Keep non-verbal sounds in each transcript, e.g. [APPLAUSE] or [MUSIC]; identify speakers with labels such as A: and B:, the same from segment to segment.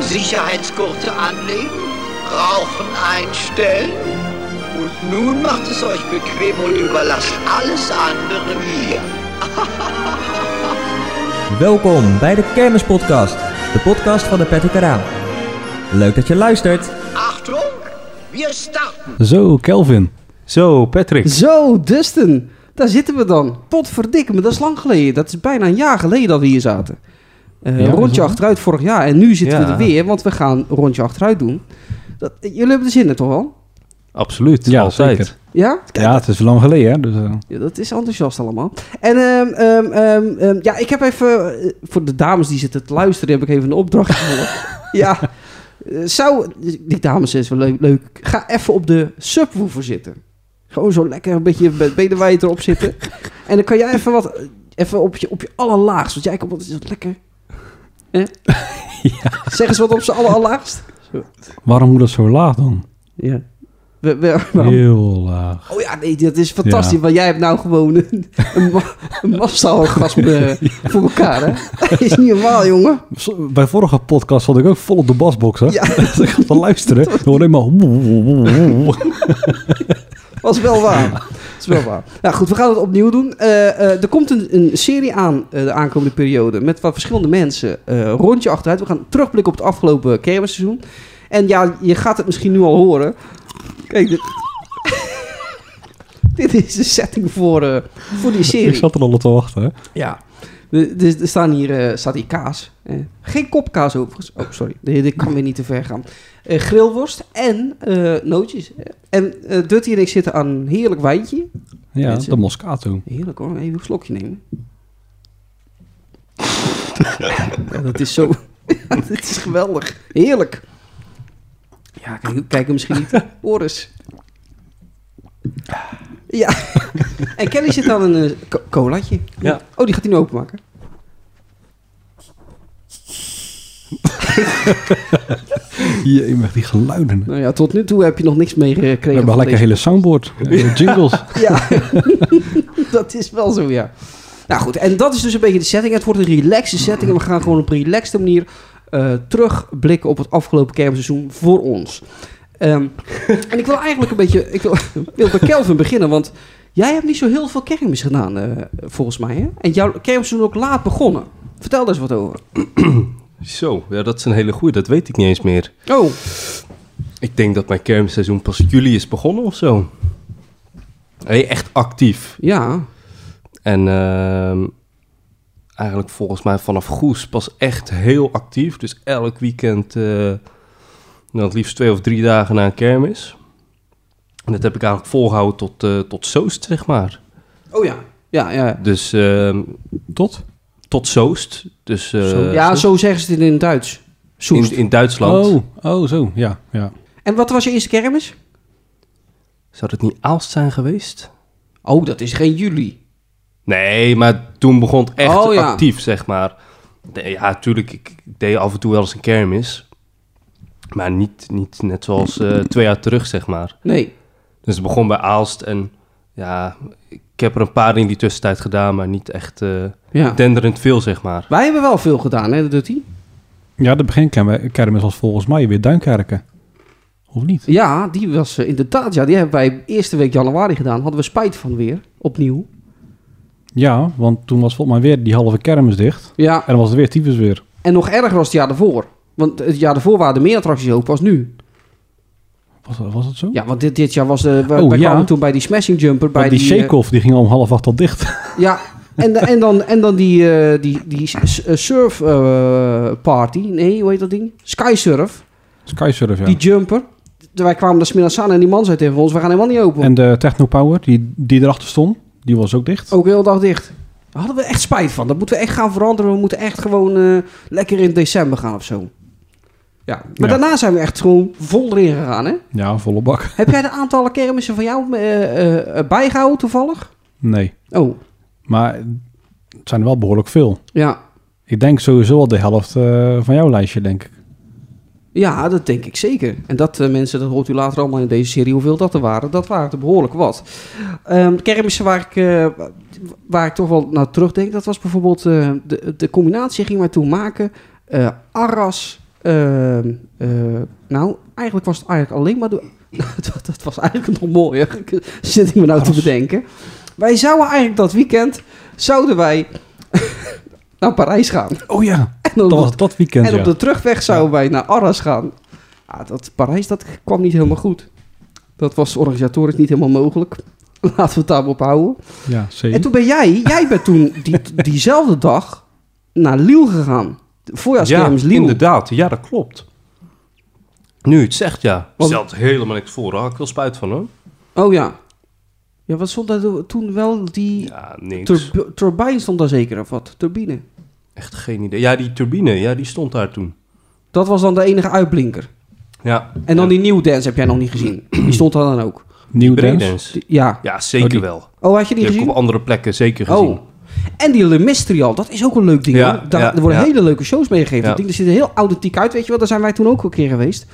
A: Sicherheitsgurte anlegen, Rauchen einstellen. Und nun macht es euch bequem und überlasst alles andere mir.
B: Welkom bij de Kermispodcast, de podcast van de Petty Karaan. Leuk dat je luistert.
A: Achtung, we starten.
C: Zo, Kelvin. Zo, Patrick.
D: Zo, Dustin. Daar zitten we dan. Potverdikke me, dat is lang geleden. Dat is bijna een jaar geleden dat we hier zaten. Uh, ja, rondje achteruit vorig jaar. En nu zitten ja. we er weer, want we gaan rondje achteruit doen. Dat, jullie hebben er zin in, toch al?
C: Absoluut,
D: ja,
C: altijd. Zeker.
D: Ja?
C: ja, het is lang geleden. Hè? Dus, uh...
D: ja, dat is enthousiast allemaal. En um, um, um, ja, ik heb even... Uh, voor de dames die zitten te luisteren, heb ik even een opdracht [LAUGHS] voor. ja. eh, Zou... Die dames is wel leuk, leuk. Ga even op de subwoofer zitten. Gewoon zo lekker een beetje bedenwijd erop zitten. en dan kan jij even wat... eh, Even op je, op je allerlaagst. Want jij komt altijd lekker... Eh? [LAUGHS] ja. Zeg eens wat op z'n allerlaagst.
C: Waarom moet dat zo laag dan?
D: Ja.
C: We, we, Heel laag.
D: Oh ja, nee, dat is fantastisch. Ja. Want jij hebt nou gewoon een, een, ma een [LAUGHS] ja. voor elkaar, hè? [LAUGHS] Dat is niet normaal, jongen.
C: Bij vorige podcast zat ik ook vol op de basbox, [LAUGHS] hè? Ja. Als ik ga [LAUGHS] luisteren, dan hoor ik maar...
D: Was wel waar. Dat is wel waar. Nou goed, we gaan het opnieuw doen. Uh, uh, er komt een, een serie aan uh, de aankomende periode met wat verschillende mensen. eh, rondje achteruit. We gaan terugblikken op het afgelopen kermisseizoen. En ja, je gaat het misschien nu al horen. Kijk, dit, [LAUGHS] dit is de setting voor, uh, voor die serie.
C: Ik zat er al op te wachten, hè?
D: Ja. Er, er staan hier, uh, staat hier kaas. Uh, geen kopkaas overigens. Oh, sorry. Dit kan weer niet te ver gaan. Eh, grillworst en eh, nootjes. En Dutty en ik zitten aan een heerlijk wijntje.
C: Ja, Mensen. de Moscato.
D: Heerlijk hoor. Even een slokje nemen. ja, dat is zo... [LAUGHS] dat is geweldig. Heerlijk. Ja, kijk, kijk hem misschien niet. Oris. Ja. En Kelly zit aan een uh, colaatje.
C: Ja.
D: Oh, die gaat hij nu openmaken.
C: Jee, maar die geluiden.
D: Nou ja, tot nu toe heb je nog niks meegekregen. We
C: hebben lekker een hele soundboard. [LAUGHS] Ja. Jingles.
D: ja, [LAUGHS] dat is wel zo, ja. Nou goed, en dat is dus een beetje de setting. Het wordt een relaxe setting. En we gaan gewoon op een relaxte manier uh, terugblikken op het afgelopen kermseizoen voor ons. [LAUGHS] Um, en ik wil eigenlijk een beetje. Ik wil, [LAUGHS] wil bij Kelvin beginnen, want jij hebt niet zo heel veel kermis gedaan, uh, volgens mij. Hè? En jouw kermseizoen ook laat begonnen. Vertel daar eens wat over.
E: Zo, ja, dat is een hele goeie. Dat weet ik niet eens meer.
D: Oh.
E: Ik denk dat mijn kermisseizoen pas juli is begonnen of zo. Hey, echt actief.
D: Ja.
E: En. Uh, eigenlijk volgens mij vanaf Goes pas echt heel actief. Dus elk weekend, uh, nou, het liefst twee of drie dagen na een kermis. En dat heb ik eigenlijk volgehouden tot, uh, tot Soest, zeg maar.
D: Oh ja, ja, ja.
E: Dus uh,
C: tot?
E: Tot Soest. Dus,
D: zo, Oh, ja, Soest. Eh, zo zeggen ze het in het Duits.
E: Soest. In, in Duitsland.
C: Oh, oh, zo, ja, ja.
D: En wat was je eerste kermis?
E: Zou dat niet Aalst zijn geweest?
D: Oh, dat is geen juli.
E: Nee, maar toen begon het echt oh, ja. actief, zeg maar. De, ja, natuurlijk, ik deed af en toe wel eens een kermis. Maar niet, niet net zoals uh, twee jaar terug, zeg maar.
D: Nee.
E: Dus het begon bij Aalst en ja, ik heb er een paar in die tussentijd gedaan, maar niet echt uh, ja. denderend veel, zeg maar.
D: Wij hebben wel veel gedaan, hè, Dutty?
C: Ja, de beginkermis was volgens mij weer Duinkerken. Of niet?
D: Ja, die was uh, inderdaad, ja, die hebben wij eerste week januari gedaan. Hadden we spijt van weer, opnieuw.
C: Ja, want toen was volgens mij weer die halve kermis dicht.
D: Ja.
C: En dan was er weer tyfus weer.
D: En nog erger was het jaar daarvoor. Want het jaar daarvoor waren er meer attracties open als nu.
C: Was, was dat zo?
D: Ja, want dit, dit jaar was de... We, oh, ja. toen bij die smashing jumper. Bij eh,
C: die, die shake-off, die ging om half acht al [LAUGHS] dicht.
D: Ja, en, de, en, dan, en dan die, uh, die, die surf uh, party. Nee, hoe heet dat ding? Skysurf.
C: Skysurf, ja.
D: Die jumper. Wij kwamen daar smiddags aan en die man zei tegen ons, we gaan helemaal niet open. Oh.
C: En de Technopower, die, die erachter stond. Die was ook dicht.
D: Ook heel dag dicht. Daar hadden we echt spijt van. Dat moeten we echt gaan veranderen. We moeten echt gewoon eh, lekker in december gaan of zo. Ja, maar
C: Ja.
D: daarna zijn we echt gewoon vol erin gegaan, hè?
C: Ja, volle bak.
D: Heb jij de aantallen kermissen van jou eh, eh, eh, bijgehouden toevallig?
C: [LAUGHS] Nee.
D: Oh,
C: Maar het zijn er wel behoorlijk veel.
D: ja.
C: Ik denk sowieso al de helft eh, van jouw lijstje, denk ik.
D: Ja, dat denk ik zeker. En dat, eh, mensen, dat hoort u later allemaal in deze serie hoeveel dat er waren. Dat waren er behoorlijk wat. Ehm kermissen waar ik, eh, waar ik toch wel naar terugdenk, dat was bijvoorbeeld... eh, de, de combinatie gingen wij toen maken. eh, Arras... ehm, eh, nou, eigenlijk was het eigenlijk alleen maar... De, [LAUGHS] dat, dat was eigenlijk nog mooier. [LAUGHS] Zit ik me nou te bedenken. Wij zouden eigenlijk dat weekend... Zouden wij [LAUGHS] naar Parijs gaan.
C: Oh ja,
D: En dan
C: dat was dat weekend,
D: en op
C: ja.
D: de terugweg zouden wij naar Arras gaan. Ja, dat Parijs, dat kwam niet helemaal goed. Dat was organisatorisch niet helemaal mogelijk. [LAUGHS] Laten we het daarop houden.
C: Ja,
D: En
C: zeker.
D: toen ben jij, jij bent toen die,
E: [LAUGHS]
D: diezelfde dag naar Lille gegaan. De
E: Ja,
D: Voorjaarskermis Lille.
E: inderdaad. Ja, dat klopt. Nu je het zegt, ja.
D: Want-
E: Stelt helemaal niks voor. Daar had ik wel spijt van, hoor.
D: Oh ja. Ja, wat stond daar toen wel die...
E: Ja, niks.
D: turb- turbine stond daar zeker of wat? Turbine.
E: Echt geen idee. Ja, die turbine, ja, die stond daar toen.
D: Dat was dan de enige uitblinker.
E: Ja.
D: En dan die New Dance heb jij nog niet gezien. Die stond daar dan ook.
C: Nieuw dance.
E: Breakdance.
D: Die- Ja.
E: Ja, zeker
C: Oh, die-
E: wel.
D: Oh, had je die
E: Die heb ik
D: gezien?
E: op andere plekken zeker gezien.
D: Oh. En die Le Mystery al, dat is ook een leuk ding.
E: Ja,
D: hoor. Daar,
E: ja,
D: er worden
E: ja.
D: hele leuke shows mee gegeven.
E: Ja.
D: Dat ding, er ziet er heel authentiek uit, weet je wel. Daar zijn wij toen ook een keer geweest.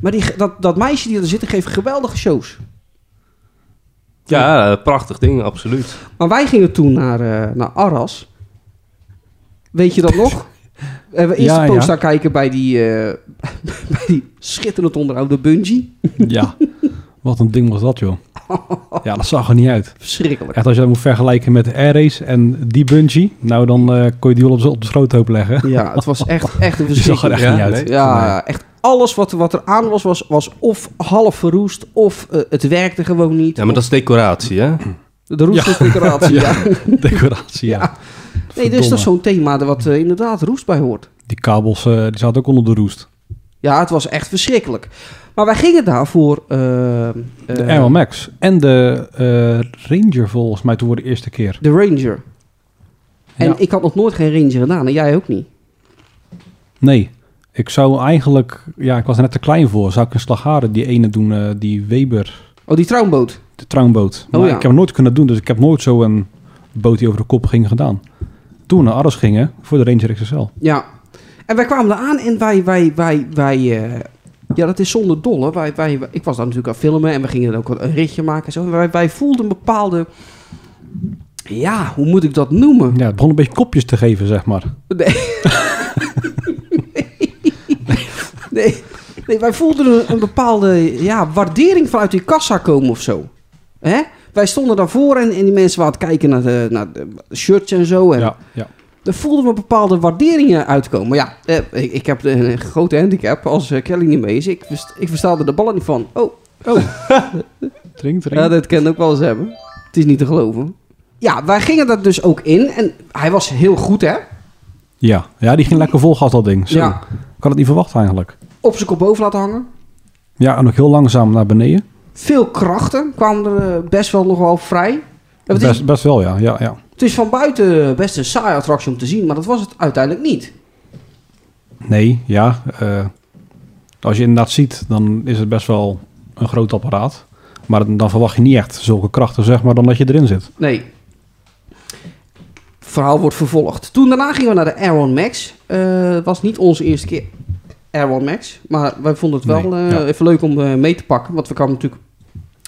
D: Maar die, dat, dat meisje die er zit, geeft geweldige shows.
E: Ja, eh, prachtig ding, absoluut.
D: Maar wij gingen toen naar, eh, naar Arras. Weet je dat nog? Eh, We hebben eerst
C: Ja,
D: de post
C: ja.
D: gaan kijken bij die, eh, [LAUGHS] bij die schitterend onderhouden Bungie. [LAUGHS]
C: Ja, wat een ding was dat, joh. Ja, dat zag er niet uit.
D: Verschrikkelijk.
C: Echt, als je dat moet vergelijken met de Air Race en die bungee, nou dan eh, kon je die wel op, z'n- op de schroothoop leggen. [LAUGHS]
D: Ja, het was echt, echt een
C: Die zag er
D: verschrikkelijk.
C: echt
E: Ja,
C: niet uit.
E: nee.
D: Ja, echt alles wat, wat er aan was, was, was of half verroest, of eh, het werkte gewoon niet.
E: Ja, maar dat is decoratie, hè?
D: De roestdecoratie, ja.
C: Decoratie, ja.
D: Nee, er is toch zo'n thema er wat eh, inderdaad roest bij hoort.
C: Die kabels, eh, die zaten ook onder de roest.
D: Ja, het was echt verschrikkelijk. Maar wij gingen daarvoor... eh, eh,
C: De Air Max en de eh, Ranger volgens mij toen voor de eerste keer.
D: de Ranger. En
C: Ja.
D: ik had nog nooit geen Ranger gedaan. En jij ook niet.
C: Nee, ik zou eigenlijk, ja, ik was er net te klein voor. Zou ik een slagaren die ene doen, eh, die Weber,
D: Oh, die trouwboot.
C: de trouwboot. Maar
D: Oh, ja.
C: ik heb hem nooit kunnen doen, dus ik heb nooit zo'n boot die over de kop ging gedaan. Toen we naar Arras gingen voor de Ranger XSL.
D: Ja. En wij kwamen eraan en wij... wij, wij, wij eh, ja, dat is zonder dolle. Wij, wij, wij- ik was daar natuurlijk aan het filmen en we gingen dan ook een ritje maken. En zo. En Wij, wij voelden een bepaalde... Ja, hoe moet ik dat noemen?
C: Ja, het begon een beetje kopjes te geven, zeg maar.
D: Nee. nee. Nee, wij voelden een, een bepaalde ja, waardering vanuit die kassa komen of zo. Hè? Wij stonden daarvoor en, en die mensen waren aan het kijken naar de, naar de shirts en zo. En
C: Ja, ja.
D: Daar voelden we bepaalde waarderingen uitkomen. Maar ja, eh, ik, ik heb een, een grote handicap als eh, Kelly niet mee is. Ik, verst- ik versta er de ballen niet van. Oh, [LAUGHS]
C: Drink, drink.
D: ja, dat kan ook wel eens hebben. Het is niet te geloven. Ja, wij gingen dat dus ook in. En hij was heel goed, hè?
C: Ja, ja, die ging lekker vol gas, dat ding. Zo.
D: Ja.
C: Ik had het niet verwacht eigenlijk.
D: Op zijn kop boven laten hangen.
C: Ja, en ook heel langzaam naar beneden.
D: veel krachten kwamen er eh, best wel nog wel vrij. Het is,
C: Best, best wel, ja. ja, ja.
D: het is van buiten eh, best een saaie attractie om te zien, maar dat was het uiteindelijk niet.
C: Nee, ja. eh, als je inderdaad ziet, dan is het best wel een groot apparaat. Maar dan dan verwacht je niet echt zulke krachten, zeg maar, dan dat je erin zit.
D: Nee. Het verhaal wordt vervolgd. Toen daarna gingen we naar de Aeron Max. Eh was niet onze eerste keer Aeron Max, maar wij vonden het wel
C: Nee,
D: eh,
C: ja.
D: even leuk om eh, mee te pakken, want we kwamen natuurlijk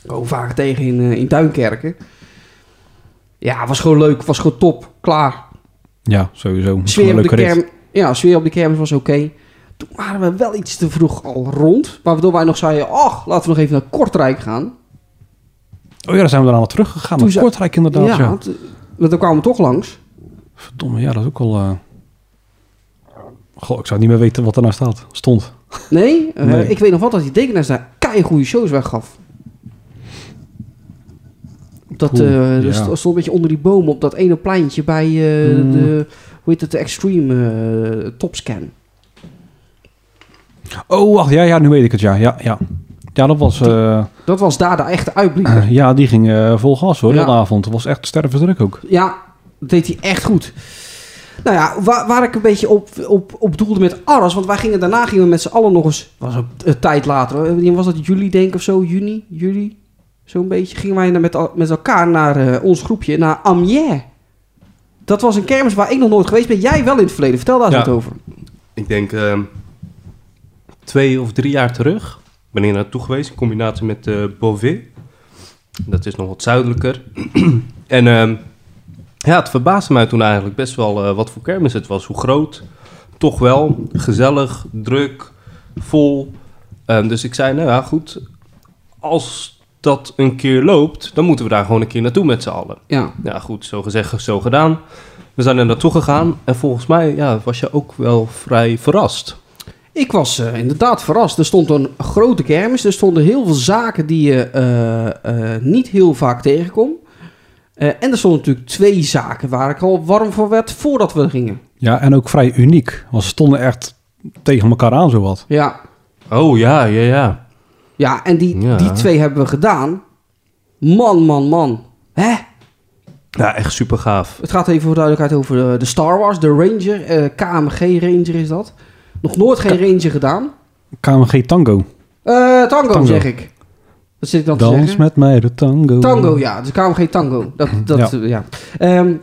D: ook vaak tegen in, eh, in Duinkerken. Ja, was gewoon leuk, was gewoon top, klaar.
C: Ja, sowieso. Het is gewoon een
D: Sfeer op de
C: leuke rit.
D: kerm, ja, sfeer op de kermis was oké. Toen waren we wel iets te vroeg al rond. Waardoor wij nog zeiden, ach, laten we nog even naar Kortrijk gaan.
C: Oh ja, daar zijn we daarna terug gegaan.
D: Toen
C: Naar
D: ze-
C: Kortrijk inderdaad, ja.
D: want, eh, want dan kwamen we toch langs.
C: Verdomme, ja, dat is ook al... eh, Goh, ik zou niet meer weten wat er nou staat. Stond.
D: Nee, eh,
C: Nee.
D: ik weet nog wel dat die dekenaars daar goede shows weggaf. Dat
C: Cool,
D: eh, er
C: ja.
D: st- stond een beetje onder die boom op dat ene pleintje bij eh,
C: Mm.
D: de, hoe heet het, de Extreme eh, Topscan.
C: Oh, wacht. Ja, ja, nu weet ik het. Ja, ja, ja. Ja, dat was... eh,
D: Dat
C: [CLEARS THROAT]
D: was daar de echte uitblinker.
C: Ja, die ging eh, vol gas hoor,
D: Ja.
C: heel de avond. Het was echt stervensdruk ook.
D: Ja, Dat deed hij echt goed. Nou ja, waar, waar ik een beetje op, op, op doelde met Arras. Want wij gingen daarna gingen we met z'n allen nog eens. Was een, een tijd later. hoor. Wanneer Was dat juli, denk ik of zo? Juni? Juli? Zo'n beetje. Gingen wij naar met, al- met elkaar naar eh, ons groepje, naar Amiens. Dat was een kermis waar ik nog nooit geweest ben. Jij wel in het verleden. Vertel daar eens
E: Ja.
D: wat over.
E: Ik denk ehm, twee of drie jaar terug ben ik naartoe geweest in combinatie met eh Beauvais. Dat is nog wat zuidelijker. [CLEARS THROAT] en ehm, ja, het verbaasde mij toen eigenlijk best wel eh, wat voor kermis het was. Hoe groot, toch wel, gezellig, druk, vol. Ehm, dus ik zei, nou ja, goed, als dat een keer loopt, dan moeten we daar gewoon een keer naartoe met z'n allen.
D: Ja.
E: Ja, goed, zo gezegd, zo gedaan. We zijn er naartoe gegaan en volgens mij ja, was je ook wel vrij verrast.
D: Ik was eh, inderdaad verrast. Er stond een grote kermis. Er stonden heel veel zaken die je eh, eh, niet heel vaak tegenkomt. Eh, en er stonden natuurlijk twee zaken waar ik al warm voor werd voordat we gingen.
C: Ja, en ook vrij uniek. Want ze stonden echt tegen elkaar aan, zowat.
D: Ja,
E: Oh ja, ja, ja.
D: ja en die,
E: Ja.
D: die twee hebben we gedaan. Man, man, man. Hè?
E: Ja, echt super gaaf.
D: Het gaat even voor duidelijkheid over de, de Star Wars, de Ranger. eh, KMG Ranger is dat. Nog nooit geen Ranger gedaan.
C: KMG Tango.
D: Eh, tango,
C: Tango.
D: zeg ik. Wat zit ik dan te
C: Dans
D: zeggen?
C: met mij de tango.
D: Tango, ja. Dus KMG Tango. Dat,
C: Mm-hmm.
D: dat, ja. Ehm,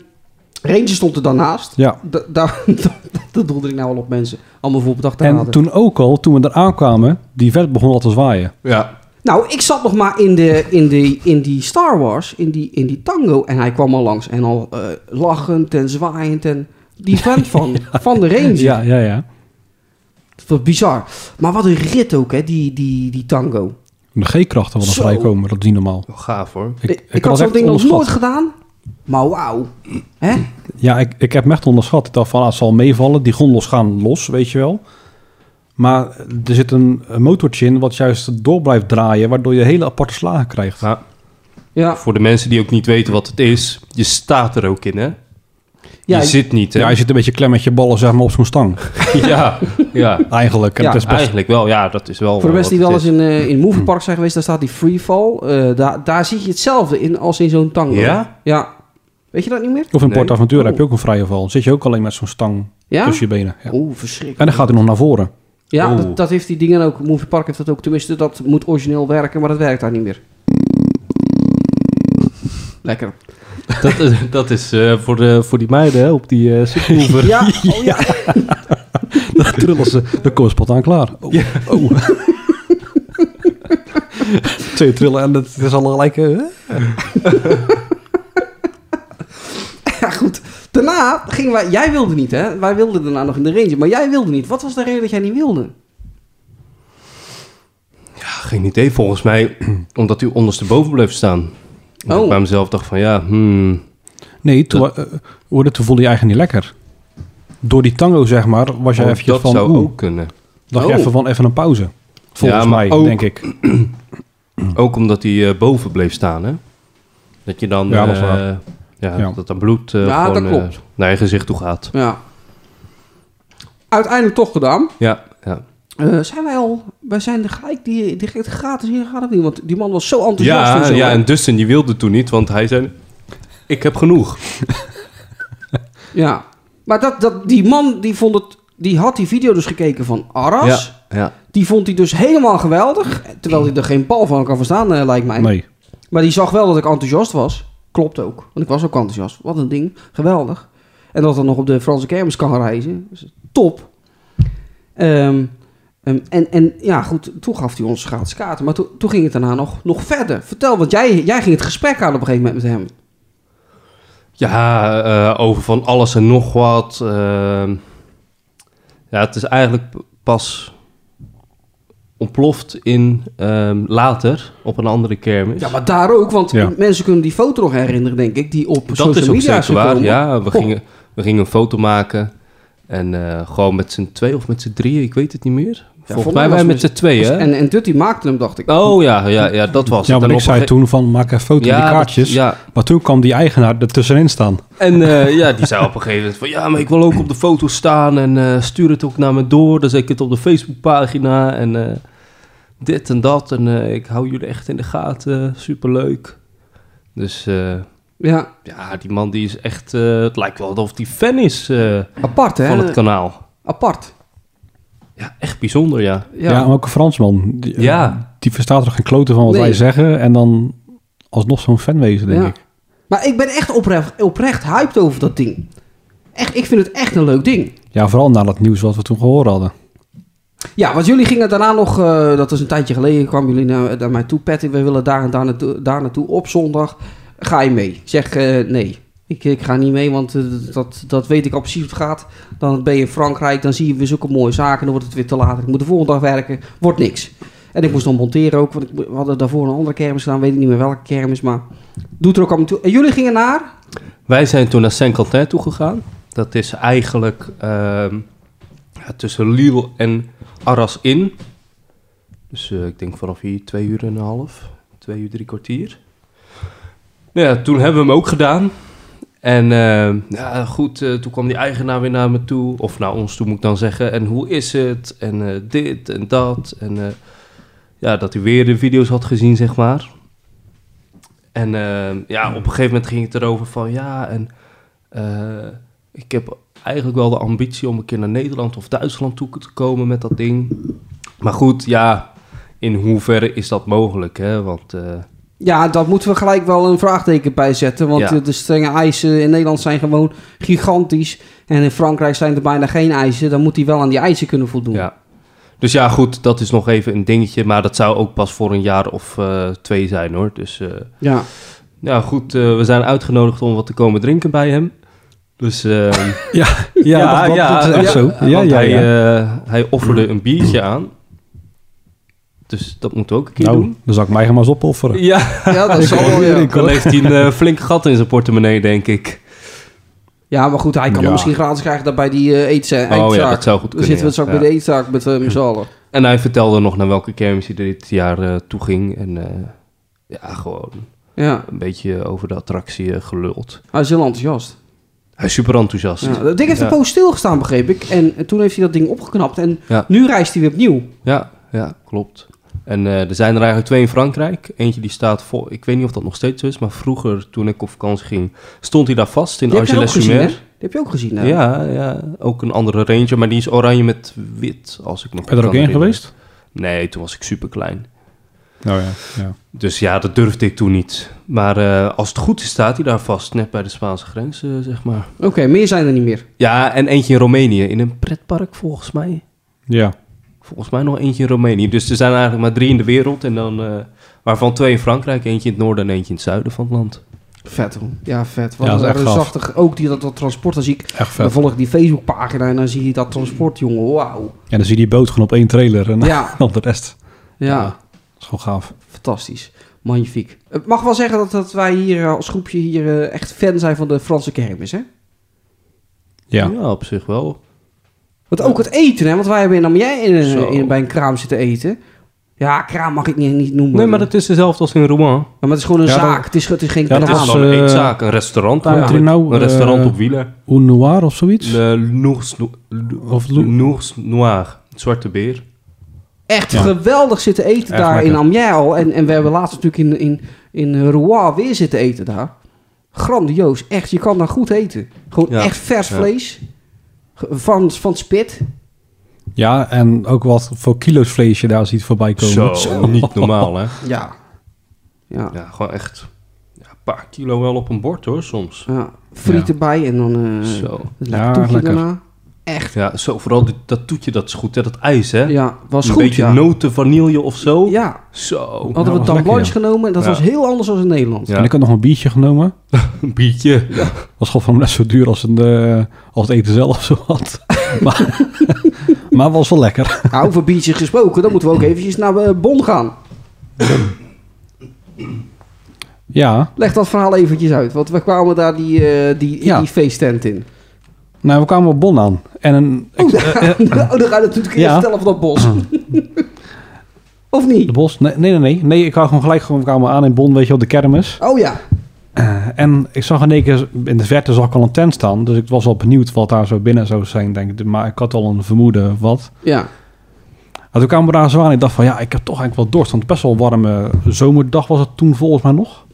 D: Ranger stond er daarnaast.
C: Ja.
D: Da- [LAUGHS] daar- dat doelde ik nou al op mensen. Allemaal voorbedacht te
C: En
D: raden.
C: toen ook al, toen we er aankwamen, die vet begon al te zwaaien.
E: Ja.
D: Nou, ik zat nog maar in, de, in, de, in die Star Wars, in die, in die tango. En hij kwam al langs. En al eh, lachend en zwaaiend. En
C: [LAUGHS]
D: die vent van, van de Ranger.
C: Ja, ja, ja.
D: Wat bizar. Maar wat een rit ook, hè, die, die, die tango.
C: De G-krachten van
D: Zo.
C: vrijkomen, dat is niet normaal.
E: Wel gaaf hoor.
D: Ik,
C: had
D: ik, had
C: het
D: zo'n
C: echt
D: ding nog
C: onderschat.
D: nooit gedaan. Maar wauw. Hè?
C: Ja, ik, ik heb hem echt onderschat. Ik dacht van, ah, het zal meevallen. Die gondels gaan los, weet je wel. Maar er zit een een motortje in wat juist door blijft draaien, waardoor je hele aparte slagen krijgt.
E: Ja,
D: Ja.
E: voor de mensen die ook niet weten wat het is, je staat er ook in hè.
D: Ja,
E: je zit niet hè.
C: Ja, je zit een beetje klem met je ballen zeg maar, op zo'n stang.
E: [LAUGHS] ja, ja.
C: Eigenlijk. En
D: Ja,
C: het is best...
E: Eigenlijk wel, ja, dat is wel.
D: Voor de
E: wat
D: mensen die
E: het
D: wel eens in,
E: is.
D: eh
E: [CLEARS THROAT]
D: in Movie Park zijn geweest, daar staat die freefall. Eh daar, daar zie je hetzelfde in als in zo'n tango.
E: Ja?
D: Ja. Weet je dat niet meer?
C: Of in
E: Nee.
C: Port Aventura
D: Oh.
C: heb je ook een vrije val. Dan zit je ook alleen met zo'n stang
D: Ja?
C: tussen je benen. Ja.
D: Oeh,
C: En
D: verschrikkelijk.
C: dan gaat hij nog naar voren.
D: Ja,
E: Oeh.
D: dat, dat heeft die dingen ook. Movie Park heeft dat ook. Tenminste, dat moet origineel werken, maar dat werkt daar niet meer. Lekker. [LAUGHS]
E: Dat, is- dat is eh, voor, de, voor die meiden hè, op die eh, superhoever.
D: Ja, oh ja.
C: Dan trullen ze de koospot aan klaar. Oh. oh. Twee trillen en het is al gelijk... eh,
D: Ja, goed. Daarna gingen wij... Jij wilde niet, hè? Wij wilden daarna nog in de range, maar jij wilde niet. Wat was de reden dat jij niet wilde?
E: Ah, Geen idee, volgens mij, [CLEARS THROAT] omdat hij ondersteboven bleef staan. En
D: Oh.
E: Ik bij mezelf dacht van ja, hmm,
C: Nee, toen, eh, hoorde, toen voelde je eigenlijk niet lekker. Door die tango, zeg maar, was je
E: oh,
C: eventjes
E: dat
C: van...
E: zou
C: oeh,
E: ook kunnen.
C: dacht
D: Oh.
C: je even van even een pauze. Volgens
E: Ja, maar
C: mij,
E: ook-
C: denk ik.
E: Ook omdat hij eh, boven bleef staan, hè? Dat je dan...
C: Ja, dat is
E: eh,
C: waar.
E: ja,
C: Ja.
E: dat dan bloed eh,
D: Ja,
E: gewoon
D: dat
E: eh,
D: klopt.
E: naar je gezicht toe gaat.
D: Ja. Uiteindelijk toch gedaan.
E: Ja, ja.
D: Eh, zijn wij al... Wij zijn er gelijk die, direct gratis hier gegaan of niet? Want die man was zo enthousiast.
E: Ja,
D: en zo,
E: ja,
D: hè?
E: en Dustin die wilde toen niet, want hij zei... Ik heb genoeg.
D: ja. Maar dat, dat, die man die vond het... Die had die video dus gekeken van Arras.
E: Ja, ja.
D: Die vond hij dus helemaal geweldig. Terwijl hij er geen bal van kan verstaan, eh, lijkt mij.
C: Nee.
D: Maar die zag wel dat ik enthousiast was. Klopt ook. Want ik was ook enthousiast. Wat een ding. Geweldig. En dat dan nog op de Franse kermis kan reizen. Dus top. Ehm, ehm, en, en ja, goed. Toen gaf hij ons gratis kaarten. Maar toen toen ging het daarna nog, nog verder. Vertel, want jij, jij ging het gesprek aan op een gegeven moment met hem.
E: Ja, eh, over van alles en nog wat. eh. ja, het is eigenlijk p- pas ontploft in ehm, later op een andere kermis.
D: Ja, maar daar ook. Want
C: Ja.
D: mensen kunnen die foto nog herinneren, denk ik. Die op
E: Dat
D: social
E: is ook
D: media
E: zeker waar.
D: gekomen.
E: Ja, we
D: Goh.
E: gingen, we gingen een foto maken. En eh, gewoon met z'n twee of met z'n drieën, ik weet het niet meer. Volgens
D: volgens
E: mij
D: mij
E: wij
D: was
E: met z'n
D: met-
E: tweeën, hè?
D: En, en Dutty maakte hem, dacht ik.
E: Oh ja, ja, ja, dat was
C: Ja,
E: het.
C: want
E: En
C: ik
E: op
C: zei
E: een
C: toen van maak een foto
E: ge-
C: van
E: Ja,
C: die
E: dat-
C: kaartjes.
E: ja.
C: Maar toen kwam die eigenaar er tussenin staan.
E: En eh, ja, die zei op een gegeven moment van... Ja, maar ik wil ook op de foto staan en eh, stuur het ook naar me door. Dan zet ik het op de Facebookpagina en eh, dit en dat. En eh, ik hou jullie echt in de gaten. Superleuk. Dus eh,
D: Ja,
E: Ja, die man die is echt... eh, het lijkt wel alsof die fan is eh,
D: apart hè?
E: van het kanaal.
D: apart.
E: Ja, echt bijzonder, ja.
C: Ja,
D: Ja,
C: maar ook een Fransman. Die, eh,
E: Ja.
C: Die verstaat er geen klote van wat
D: Nee.
C: wij zeggen. En dan alsnog zo'n fan wezen, denk
D: Ja.
C: ik.
D: Maar ik ben echt oprecht, oprecht hyped over dat ding. Echt, ik vind het echt een leuk ding.
C: Ja, vooral na dat nieuws wat we toen gehoord hadden.
D: Ja, want jullie gingen daarna nog, eh, dat is een tijdje geleden, kwamen jullie naar, naar mij toe. Patrick, we willen daar en daar naartoe, daar naartoe op zondag. Ga je mee? Ik zeg eh, nee. Ik, ik ga niet mee, want eh, dat, dat weet ik al precies hoe het gaat. Dan ben je in Frankrijk, dan zie je weer zulke mooie zaken. Dan wordt het weer te laat. Ik moet de volgende dag werken. Wordt niks. En ik moest dan monteren ook, want ik, mo- we hadden daarvoor een andere kermis gedaan. Weet ik niet meer welke kermis, maar doet er ook allemaal toe. En jullie gingen naar?
E: Wij zijn toen naar Saint-Quentin toe gegaan. Dat is eigenlijk ehm, ja, tussen Lille en Arras in. Dus eh, ik denk vanaf hier twee uur en een half, twee uur drie kwartier. Nou ja, toen hebben we hem ook gedaan. En ehm, ja, goed, eh, toen kwam die eigenaar weer naar me toe, of naar ons toe moet ik dan zeggen. En hoe is het? En eh, dit en dat. En eh, ja, dat hij weer de video's had gezien, zeg maar. En eh, ja, op een gegeven moment ging het erover van ja, en eh, ik heb eigenlijk wel de ambitie om een keer naar Nederland of Duitsland toe te komen met dat ding. Maar goed, ja, in hoeverre is dat mogelijk? Hè? Want eh,
D: Ja, daar moeten we gelijk wel een vraagteken bij zetten. Want
E: Ja.
D: eh, de strenge eisen in Nederland zijn gewoon gigantisch. En in Frankrijk zijn er bijna geen eisen. Dan moet hij wel aan die eisen kunnen voldoen.
E: ja. Dus ja, goed, dat is nog even een dingetje. Maar dat zou ook pas voor een jaar of eh, twee zijn hoor. Dus eh,
D: Ja.
E: ja, goed, eh, we zijn uitgenodigd om wat te komen drinken bij hem. Dus. ehm,
C: [LAUGHS] Ja, dat, is echt
E: ja,
C: zo.
E: want
C: Ja, ja,
E: hij,
C: ja.
E: eh, hij offerde een biertje aan. Dus dat moeten we ook een keer
C: nou,
E: doen.
C: dan zal ik mij maar eens opofferen.
E: [LAUGHS] Ja,
D: ja, dat zal wel. Ja.
E: dan heeft hij een eh, flink gat in zijn portemonnee, denk ik.
D: Ja, maar goed, hij kan
C: Ja.
D: hem misschien gratis krijgen dan bij die eh, eetza- eetzaak.
E: Oh ja, dat zou goed
D: Dan zitten
E: kunnen.
D: we
E: ja.
D: straks
E: Ja.
D: bij de eetzaak met eh, met z'n allen.
E: En hij vertelde nog naar welke kermis hij dit jaar eh, toe ging. En eh, ja, gewoon
D: Ja,
E: een beetje over de attractie eh, geluld.
D: hij is heel enthousiast.
E: Hij is super enthousiast.
D: Ja, dat ding heeft een
E: Ja.
D: poos stilgestaan, begreep ik. En eh, toen heeft hij dat ding opgeknapt. En
E: Ja.
D: nu reist hij weer opnieuw.
E: Ja, ja, klopt. En eh, er zijn er eigenlijk twee in Frankrijk. Eentje die staat vol. Ik weet niet of dat nog steeds zo is, maar vroeger toen ik op vakantie ging, stond hij daar vast in
D: Die heb je ook gezien, hè? Die
E: Argelès-sur-Mer.
D: heb je ook gezien, hè?
E: Ja, ja, ook een andere ranger, maar die is oranje met wit, als ik me goed
C: Ben je er ook
E: kan
C: in
E: herinneren.
C: geweest?
E: Nee, toen was ik super klein.
C: Nou ja, ja.
E: Dus ja, dat durfde ik toen niet. Maar eh, als het goed is, staat hij daar vast, net bij de Spaanse grens, eh, zeg maar.
D: Oké, meer zijn er niet meer.
E: Ja, en eentje in Roemenië, in een pretpark volgens mij.
C: Ja.
E: Volgens mij nog eentje in Roemenië. Dus er zijn eigenlijk maar drie in de wereld. En dan, eh, waarvan twee in Frankrijk, eentje in het noorden en eentje in het zuiden van het land.
D: Vet, hoor. Ja, vet. Wat
C: Ja, dat is
D: een
C: echt gaaf.
D: reusachtig. Ook die, dat, dat transport, dan zie ik...
C: Echt vet.
D: Dan volg ik die Facebookpagina en dan zie je dat transport, jongen. Wauw.
C: En dan zie je die boot gewoon op één trailer en
D: Ja.
C: [LAUGHS] dan de rest.
D: ja.
C: Dat is gewoon gaaf.
D: Fantastisch. Magnifiek. Het mag wel zeggen dat, dat wij hier eh, als groepje hier eh, echt fan zijn van de Franse kermis, hè?
C: Ja.
E: op zich wel.
D: Want ook het eten, hè? Want wij hebben in Amiens in,
E: Zo.
D: een- in, bij een kraam zitten eten. Ja, kraam mag ik niet, niet noemen.
E: Nee, maar dat is dezelfde als in Rouen.
D: Ja, maar het is gewoon een
C: Ja, dat-
D: zaak. Het, is, het is geen
C: Ja, dat
D: kraam.
E: Het is
C: is,
E: gewoon
C: eh,
E: een zaak, een restaurant.
C: daar
E: eigenlijk.
C: heb je nou,
E: een restaurant
C: eh,
E: op wielen.
C: Ou Noir of zoiets?
E: Le Nours, No- Le-
C: Of Lou-
E: Nours Noir, het zwarte beer.
D: Echt
C: Ja.
D: geweldig zitten eten
C: Echt
D: daar in
C: lekker.
D: Amiens al. En, en we hebben laatst natuurlijk in, in, in Rouen weer zitten eten daar. Grandioos. Echt, je kan daar goed eten. Gewoon
E: Ja.
D: echt vers
E: Ja.
D: vlees. Ge- Van, van spit.
C: Ja, en ook wat voor kilo's vlees je daar ziet voorbij komen.
E: Zo, niet normaal hè.
D: Ja. Ja.
E: Ja, gewoon echt ja, een paar kilo wel op een bord hoor soms.
D: Ja, friet
C: Ja.
D: erbij en dan eh
E: Zo.
D: het
C: Ja,
D: lekker toetje
C: lekker.
D: daarna. Echt.
E: Ja, zo vooral die- dat toetje, dat is goed hè, dat ijs hè.
D: Ja, was
E: een
D: goed.
E: beetje
D: ja.
E: noten, vanille of zo.
D: ja,
E: Zo, Nou,
D: hadden
C: was
D: we het dan
C: lekker,
D: blanche genomen en dat
E: Ja.
D: was heel anders dan in Nederland.
E: Ja.
C: En ik had nog een biertje genomen.
E: een biertje. Ja.
C: was gewoon van net zo duur als, een, eh, als het eten zelf zo [LAUGHS] had. maar, maar was wel lekker.
D: Nou, over biertjes gesproken, dan moeten we ook eventjes naar eh, Bon gaan.
C: Ja,
D: Leg dat verhaal eventjes uit, want we kwamen daar die, eh, die,
C: Ja.
D: die feesttent in.
C: nou we kwamen op Bon aan. En een,
D: Oh, daar, oh, dan ga je natuurlijk eerst
C: ja.
D: vertellen van dat bos. [LAUGHS] of
C: de
D: niet?
C: bos, nee, nee, nee. Nee, ik kwam gewoon gelijk gewoon, we kwamen aan in Bon, weet je, op de kermis.
D: Oh ja,
C: Eh, en ik zag in één keer, in de verte zag ik al een tent staan. Dus ik was al benieuwd wat daar zo binnen zou zijn, denk ik. Maar ik had al een vermoeden wat.
D: ja.
C: En toen kwamen we daar zo aan. Ik dacht van ja, ik heb toch eigenlijk wel dorst. Want het was best wel een warme zomerdag was het toen volgens mij nog.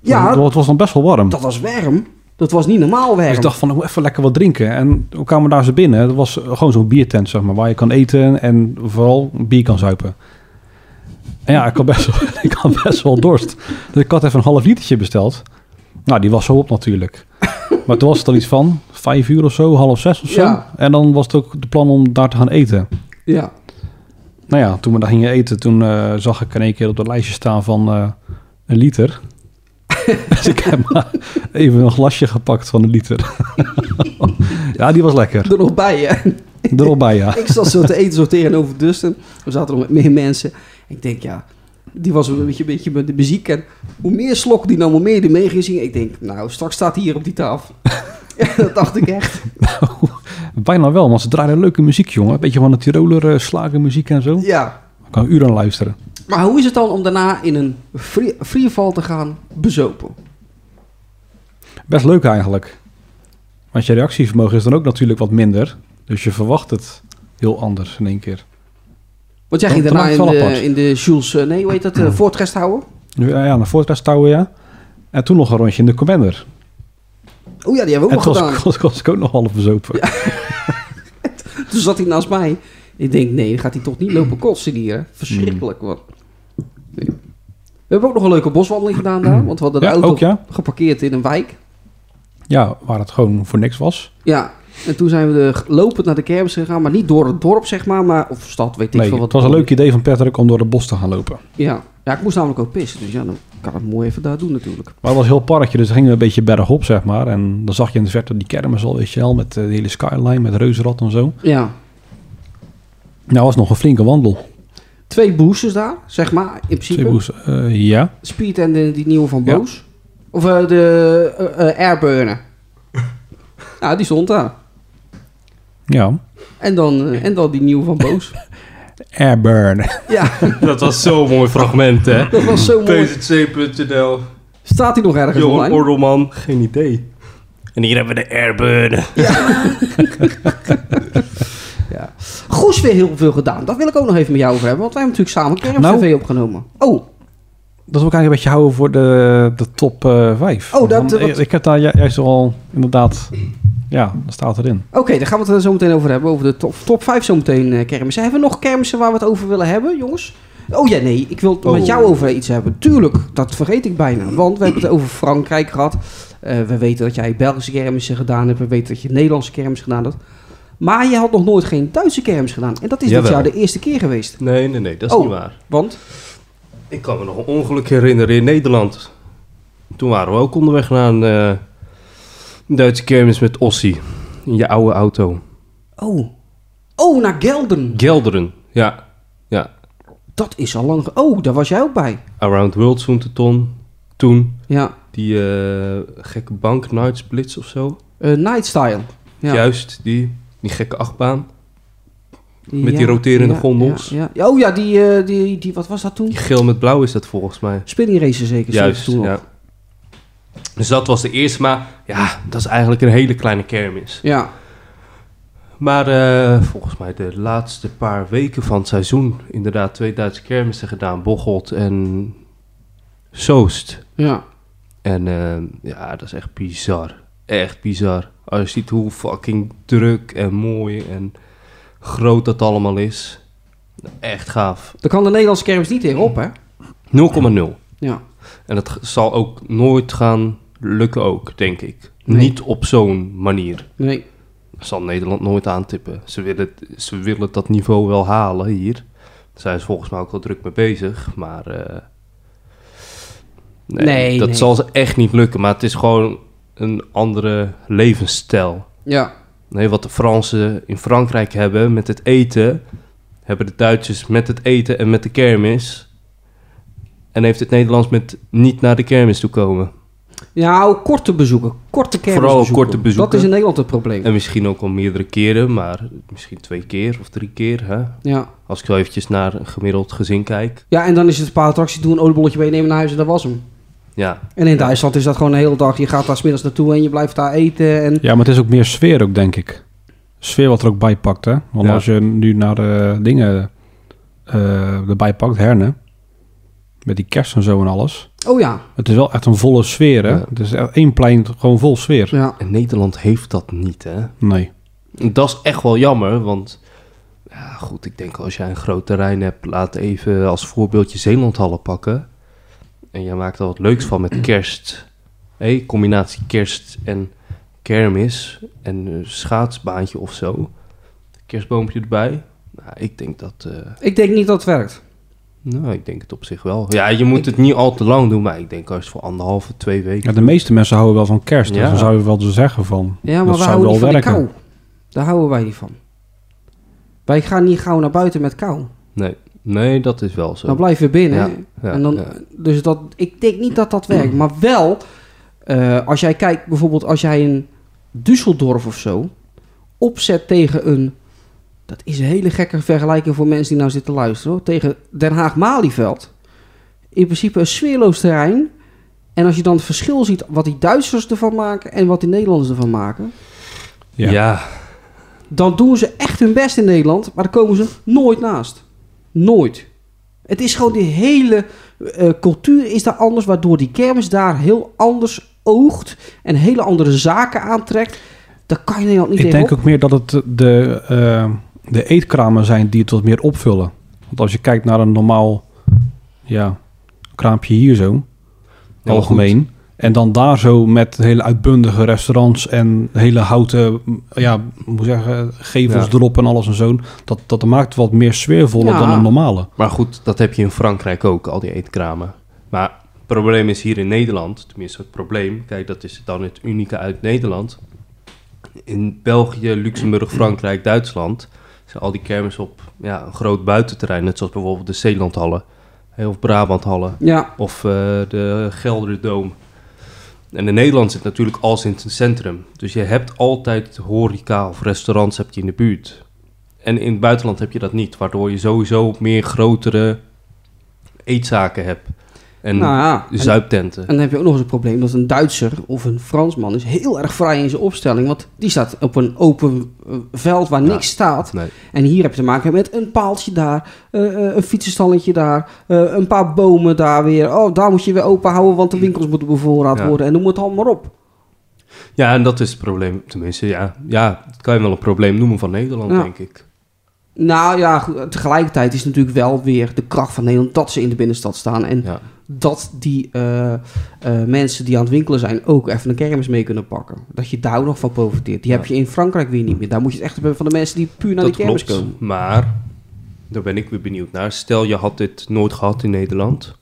D: Ja,
C: Want het was dan best wel warm.
D: dat was warm. Dat was niet normaal
C: Dus ik
D: warm.
C: dacht van, ik moet even lekker wat drinken. En toen kwamen we daar zo binnen. Dat was gewoon zo'n biertent, zeg maar, waar je kan eten en vooral bier kan zuipen. En ja, ik had best wel, [LAUGHS] ik had best wel dorst. Dus ik had even een half litertje besteld. Nou, die was zo op natuurlijk. Maar toen was het al iets van vijf uur of zo, half zes of zo.
D: Ja.
C: En dan was het ook de plan om daar te gaan eten.
D: Ja.
C: Nou ja, toen we daar gingen eten, toen eh, zag ik in één keer op dat lijstje staan van eh, een liter. dus ik heb maar even een glasje gepakt van een liter. [LAUGHS] ja, die was lekker.
D: Er nog bij, hè?
C: Erop bij, ja. [LAUGHS]
D: Ik zat zo te eten sorteren over Dustin. We zaten nog met meer mensen. Ik denk, ja, die was een beetje, een beetje met de muziek. En hoe meer slok die nam, hoe meer die mee ging zingen. Ik denk, nou, straks staat hij hier op die tafel. [LAUGHS] Ja, dat dacht ik echt.
C: Bijna wel, want ze draaiden leuke muziek, jongen. Een beetje van de Tiroler eh, slagenmuziek en zo. Ik
D: Ja.
C: kan uren aan luisteren.
D: Maar hoe is het dan om daarna in een free- freeval te gaan bezopen?
C: Best leuk eigenlijk. Want je reactievermogen is dan ook natuurlijk wat minder. Dus je verwacht het heel anders in één keer.
D: Want jij
C: Dat-
D: ging
C: dat
D: daarna
C: maakt
D: in
C: het wel
D: de,
C: apart.
D: in de Jules, eh, nee, hoe heet dat, eh Voortrest houden?
C: Ja, ja naar Fortress touwen, ja. En toen nog een rondje in de Commander.
D: Oh ja, die hebben we
C: En toen
D: ook nog
C: was, [LAUGHS]
D: gedaan.
C: was, was ik ook nog half bezopen.
D: Toen zat hij naast mij. Ik denk, nee, dan gaat hij toch niet lopen kotsen hier. Verschrikkelijk,
C: Hmm.
D: wat. Nee. We hebben ook nog een leuke boswandeling gedaan daar. Want we hadden de
C: Hmm. Ja,
D: auto
C: ook, ja.
D: geparkeerd in een wijk.
C: Ja, waar het gewoon voor niks was.
D: Ja, en toen zijn we de, lopend naar de kermis gegaan. Maar niet door het dorp, zeg maar. maar of stad, weet ik
C: Nee,
D: veel wat.
C: het was een leuk idee van Patrick om door het bos te gaan lopen.
D: Ja. ja, ik moest namelijk ook pissen. Dus ja, dan kan ik het mooi even daar doen natuurlijk.
C: Maar het was een heel parkje, dus dan gingen we een beetje bergop, zeg maar. En dan zag je in de verte die kermis al, weet je wel, met eh, de hele skyline, met reuzenrad en zo.
D: Ja,
C: Nou, was nog een flinke wandel.
D: twee boosters daar, zeg maar. In principe.
C: Twee boes, eh, ja.
D: Speed en de, die nieuwe van
C: Ja.
D: Boos. Of eh, de eh, eh,
C: [LAUGHS]
D: Airburner. ja, die stond daar.
C: Ja.
D: En dan, eh, en dan die nieuwe van
C: [LAUGHS]
D: Boos.
C: Airburn.
D: ja,
E: [LAUGHS] Dat was zo'n mooi fragment, hè?
D: dat was zo mooi.
E: PZC.nl,
D: Staat hij nog ergens
E: Johan
D: online?
E: Ordelman, geen idee. En hier hebben we de Airburn.
D: Ja. Goes weer heel veel gedaan. Dat wil ik ook nog even met jou over hebben. Want wij hebben natuurlijk samen Kerm
C: Nou.
D: TV opgenomen. Oh,
C: Dat wil ik eigenlijk een beetje houden voor de, de top 5.
D: Oh, dat, eh, wat-
C: ik, ik heb daar ju- juist al inderdaad... Ja, dat staat erin.
D: oké. daar gaan we het er zo meteen over hebben. Over de top, top 5 zometeen eh kermissen. Hebben we nog kermissen waar we het over willen hebben, jongens? Oh ja, nee. Ik wil het met jou over iets hebben. Tuurlijk, dat vergeet ik bijna. Want we hebben het over Frankrijk gehad. Eh, we weten dat jij Belgische kermissen gedaan hebt. We weten dat je Nederlandse kermissen gedaan hebt. Maar je had nog nooit geen Duitse kermis gedaan. En dat is dit
E: Jawel.
D: jaar de eerste keer geweest.
E: Nee, nee, nee, dat is
D: Oh.
E: niet waar.
D: Want?
E: Ik kan me nog een ongeluk herinneren in Nederland. Toen waren we ook onderweg naar een eh, Duitse kermis met Ossie. In je oude auto.
D: Oh. Oh, naar Gelden.
E: Gelderen, ja. Ja,
D: Dat is al lang... ge- Oh, daar was jij ook bij.
E: Around World Soenteton. Toen,
D: Ja.
E: die eh, gekke bank, Night Splits of zo.
D: Eh, Night Style. Ja.
E: Juist, die, die gekke achtbaan. met die
D: ja,
E: roterende
D: ja,
E: gondels.
D: Ja, ja. Oh ja, die, eh, die, die... Wat was dat toen?
E: Die geel met blauw is dat volgens mij.
D: Spinning racer zeker.
E: Juist,
D: toen al.
E: ja. Dus dat was de eerste, maar ja, dat is eigenlijk een hele kleine kermis.
D: Ja.
E: Maar eh, volgens mij de laatste paar weken van het seizoen inderdaad twee Duitse kermissen gedaan. Bocholt en Soest.
D: Ja.
E: En eh, ja, dat is echt bizar. Echt bizar. Als je ziet hoe fucking druk en mooi en groot dat allemaal is. Echt gaaf.
D: Daar kan de Nederlandse kermis niet in op, hè?
E: 0,0.
D: Ja.
E: En dat g- zal ook nooit gaan lukken ook, denk ik.
D: Nee.
E: Niet op zo'n manier.
D: Nee.
E: Zal Nederland nooit aantippen. Ze willen, ze willen dat niveau wel halen hier. Daar zijn ze volgens mij ook wel druk mee bezig. Maar eh, nee,
D: Nee,
E: dat
D: nee.
E: zal ze echt niet lukken. Maar het is gewoon een andere levensstijl.
D: Ja.
E: Nee, wat de Fransen in Frankrijk hebben met het eten, hebben de Duitsers met het eten en met de kermis. En heeft het Nederlands met niet naar de kermis toe komen.
D: Ja, ook korte bezoeken. Korte kermis
E: korte bezoeken.
D: Dat is in Nederland het probleem.
E: En misschien ook al meerdere keren, maar misschien twee keer of drie keer. Hè?
D: Ja.
E: Als ik zo eventjes naar een gemiddeld gezin kijk.
D: Ja, en dan is het een paar attracties doen, een oliebolletje meenemen naar huis en dat was hem.
E: Ja,
D: En in Duitsland is dat gewoon de hele dag. Je gaat daar smiddags naartoe en je blijft daar eten. En...
C: Ja, maar het is ook meer sfeer ook, denk ik. Sfeer wat er ook bij pakt, hè. Want
E: Ja.
C: als je nu naar de dingen eh erbij pakt, herne... Met die kerst en zo en alles.
D: Oh ja.
C: Het is wel echt een volle sfeer, hè?
E: Ja.
C: Het is echt één plein gewoon vol sfeer.
D: ja.
E: En Nederland heeft dat niet, hè?
C: Nee.
E: Dat is echt wel jammer, want... Ja, goed, ik denk als jij een groot terrein hebt, laat even als voorbeeldje Zeelandhallen pakken. En jij maakt er wat leuks van met kerst. Hé, combinatie kerst en kermis en een schaatsbaantje of zo. Kerstboompje erbij. Nou, ik denk dat... eh,
D: Ik denk niet dat het werkt.
E: nou, ik denk het op zich wel. Ja, je moet het niet al te lang doen, maar ik denk als het voor anderhalve, twee weken...
C: Ja, de meeste mensen houden wel van kerst.
E: Ja.
C: Dus dan zou je wel zeggen van...
D: Ja, maar
C: dat
D: we
C: zou
D: houden
C: wel
D: niet van die
C: werken.
D: kou. Daar houden wij niet van. Wij gaan niet gauw naar buiten met kou.
E: Nee, nee, dat is wel zo.
D: Dan blijven we binnen.
E: Ja,
D: en dan,
E: ja. Mm.
D: Dus dat, ik denk niet dat dat werkt. Maar wel, eh, als jij kijkt bijvoorbeeld als jij een Düsseldorf of zo opzet tegen een... Dat is een hele gekke vergelijking voor mensen die nou zitten luisteren. Hoor, tegen Den Haag-Malieveld. In principe een sfeerloos terrein. En als je dan het verschil ziet wat die Duitsers ervan maken en wat die Nederlanders ervan maken.
C: Ja.
E: ja,
D: Dan doen ze echt hun best in Nederland, maar daar komen ze nooit naast. Nooit. Het is gewoon die hele eh, cultuur is daar anders, waardoor die kermis daar heel anders oogt en hele andere zaken aantrekt. Daar kan je in Nederland niet
C: Ik denk
D: tegenop.
C: ook meer dat het de, eh, de eetkramen zijn die het wat meer opvullen. Want als je kijkt naar een normaal ja, kraampje hier zo,
E: maar
C: algemeen. En dan daar zo met hele uitbundige restaurants en hele houten, m, ja, moet zeggen, gevels
E: Ja.
C: erop en alles en zo. Dat, dat maakt het wat meer sfeervoller
D: Ja.
C: dan een normale.
E: Maar goed, dat heb je in Frankrijk ook, al die eetkramen. Maar het probleem is hier in Nederland, tenminste het probleem, kijk, dat is dan het unieke uit Nederland. In België, Luxemburg, Frankrijk, Duitsland zijn al die kermis op ja, een groot buitenterrein, net zoals bijvoorbeeld de Zeelandhallen hè, of Brabanthallen
D: Ja,
E: of eh, de Gelderdoom. En in Nederland zit natuurlijk alles in het centrum. Dus je hebt altijd horeca of restaurants heb je in de buurt. En in het buitenland heb je dat niet, waardoor je sowieso meer grotere eetzaken hebt. En
C: Hmm.
D: nou ja. En,
E: zuiptenten.
D: en dan heb je ook nog eens een probleem dat een Duitser of een Fransman is heel erg vrij in zijn opstelling. Want die staat op een open eh, veld waar
E: Ja.
D: niks staat.
E: nee.
D: En hier heb je te maken met een paaltje daar, eh, eh, een fietsenstalletje daar, eh, een paar bomen daar weer. Oh, daar moet je weer open houden, want de winkels moeten bevoorraad
E: Mm. Ja.
D: worden. En noem het allemaal maar op.
E: Ja, en dat is het probleem. Tenminste, ja, ja, dat kan je wel een probleem noemen van Nederland,
D: Ja.
E: denk ik.
D: Nou ja, goed, tegelijkertijd is het natuurlijk wel weer de kracht van Nederland dat ze in de binnenstad staan. En
E: Ja.
D: dat die eh, eh, mensen die aan het winkelen zijn ook even een kermis mee kunnen pakken. Dat je daar ook nog van profiteert. Die heb je in Frankrijk weer niet meer. Daar moet je het echt hebben van de mensen die puur naar
E: dat
D: die kermis
E: klopt,
D: komen.
E: maar daar ben ik weer benieuwd naar. Stel, je had dit nooit gehad in Nederland.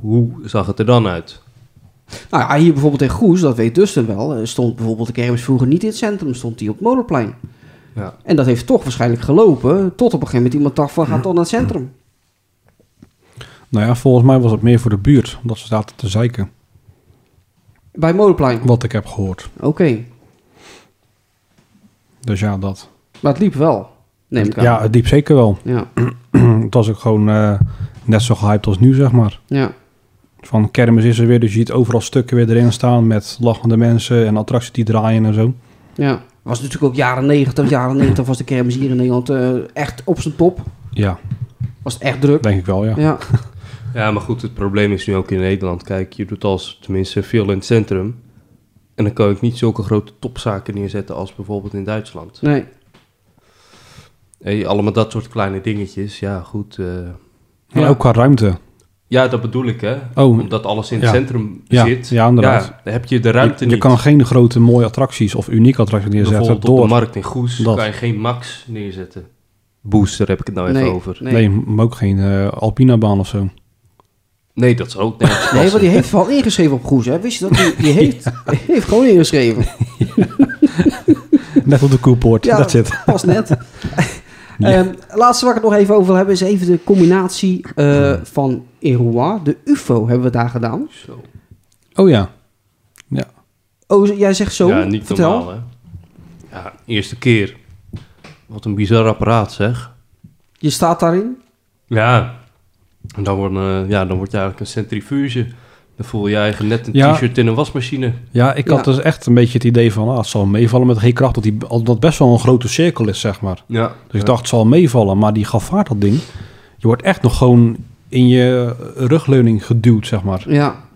E: Hoe zag het er dan uit?
D: Nou ja, hier bijvoorbeeld in Goes, dat weet Dustin wel, eh, stond bijvoorbeeld de kermis vroeger niet in het centrum, stond die op het Molenplein.
E: Ja.
D: En dat heeft toch waarschijnlijk gelopen, tot op een gegeven moment iemand dacht van, gaat dan naar het centrum.
C: Nou ja, volgens mij was het meer voor de buurt, omdat ze zaten te zeiken.
D: Bij Molenplein.
C: Wat ik heb gehoord.
D: Oké,
C: Dus ja, dat.
D: maar het liep wel, neem ik aan.
C: Ja, het liep zeker wel.
D: Ja,
C: [CLEARS THROAT] het was ook gewoon eh, net zo gehyped als nu, zeg maar.
D: ja.
C: Van kermis is er weer, dus je ziet overal stukken weer erin staan met lachende mensen en attracties die draaien en zo.
D: ja. Was natuurlijk ook jaren 90. Jaren 90 was de kermis hier in Nederland eh, echt op zijn top.
C: Ja,
D: Was het echt druk.
C: denk ik wel, ja.
D: Ja,
E: ja, maar goed, het probleem is nu ook in Nederland. Kijk, je doet als tenminste veel in het centrum. En dan kan ik niet zulke grote topzaken neerzetten als bijvoorbeeld in Duitsland.
D: nee.
E: Hey, allemaal dat soort kleine dingetjes. Ja, goed. eh,
C: Maar
D: Ja.
C: ook qua ruimte.
E: ja, dat bedoel ik, hè.
C: Oh.
E: Omdat alles in het
C: Ja.
E: centrum
C: Ja,
E: zit.
C: ja, inderdaad.
E: Ja, dan heb je de
C: Je,
E: ruimte
C: je
E: niet.
C: kan geen grote mooie attracties of unieke attracties neerzetten
E: Bijvoorbeeld op
C: Dus door...
E: de markt in Goes
C: dat.
E: kan je geen max neerzetten. Booster heb ik het nou even
D: nee,
E: over.
D: Nee.
C: nee. maar ook geen eh Alpina-baan of zo. [LAUGHS]
E: Nee, dat is ook nergens
D: Nee,
E: passen.
D: want die heeft wel ingeschreven op Goes, hè? Wist je dat? Die,
C: [LAUGHS]
D: die heeft, heeft gewoon ingeschreven.
C: Net op de koelpoort,
D: Ja,
C: dat zit.
D: pas
C: [LAUGHS]
D: net. Ehm, laatste waar ik het nog even over wil hebben is even de combinatie eh, van Eroa. De UFO hebben we daar gedaan.
E: Zo.
C: Oh ja,
D: Oh, z- jij zegt zo.
E: ja, niet
D: Vertel.
E: normaal, hè. Ja, eerste keer. Wat een bizar apparaat, zeg.
D: Je staat daarin.
E: Ja. En dan wordt, eh, ja, dan wordt je eigenlijk een centrifuge. Dan voel je je eigen net een
C: Ja.
E: t-shirt in een wasmachine.
C: ja ik had
D: Ja.
C: dus echt een beetje het idee van... Ah, het zal meevallen met geen kracht, dat die, dat best wel een grote cirkel is, zeg maar.
E: Ja.
C: Dus ik dacht, het zal meevallen, maar die gaf vaart dat ding. Je wordt echt nog gewoon in je rugleuning geduwd, zeg maar.
D: Ja.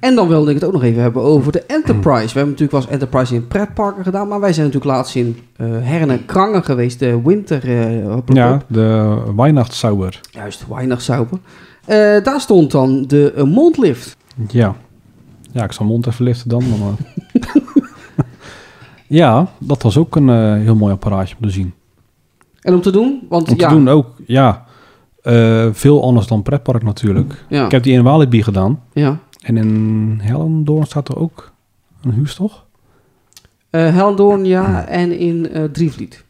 D: En dan wilde ik het ook nog even hebben over de Enterprise. We hebben natuurlijk wel eens Enterprise in pretparken gedaan, maar wij zijn natuurlijk laatst in eh Herne Krangen geweest, de winter... eh, hop, hop, hop.
C: Ja, de weihnachtssauer.
D: Juist, weinig Eh daar stond dan de eh, mondlift.
C: Ja. Ja, ik zal mond even liften dan. Maar, eh. [LAUGHS] ja, dat was ook een eh, heel mooi apparaatje om te zien.
D: En om te doen, want
C: Om
D: ja,
C: te doen ook, ja, eh, veel anders dan pretpark natuurlijk.
D: ja,
C: Ik heb die in Walibi gedaan.
D: ja.
C: En in Hellendoorn staat er ook een huis, toch?
D: Eh, Hellendoorn, ja, en in eh Drievliet.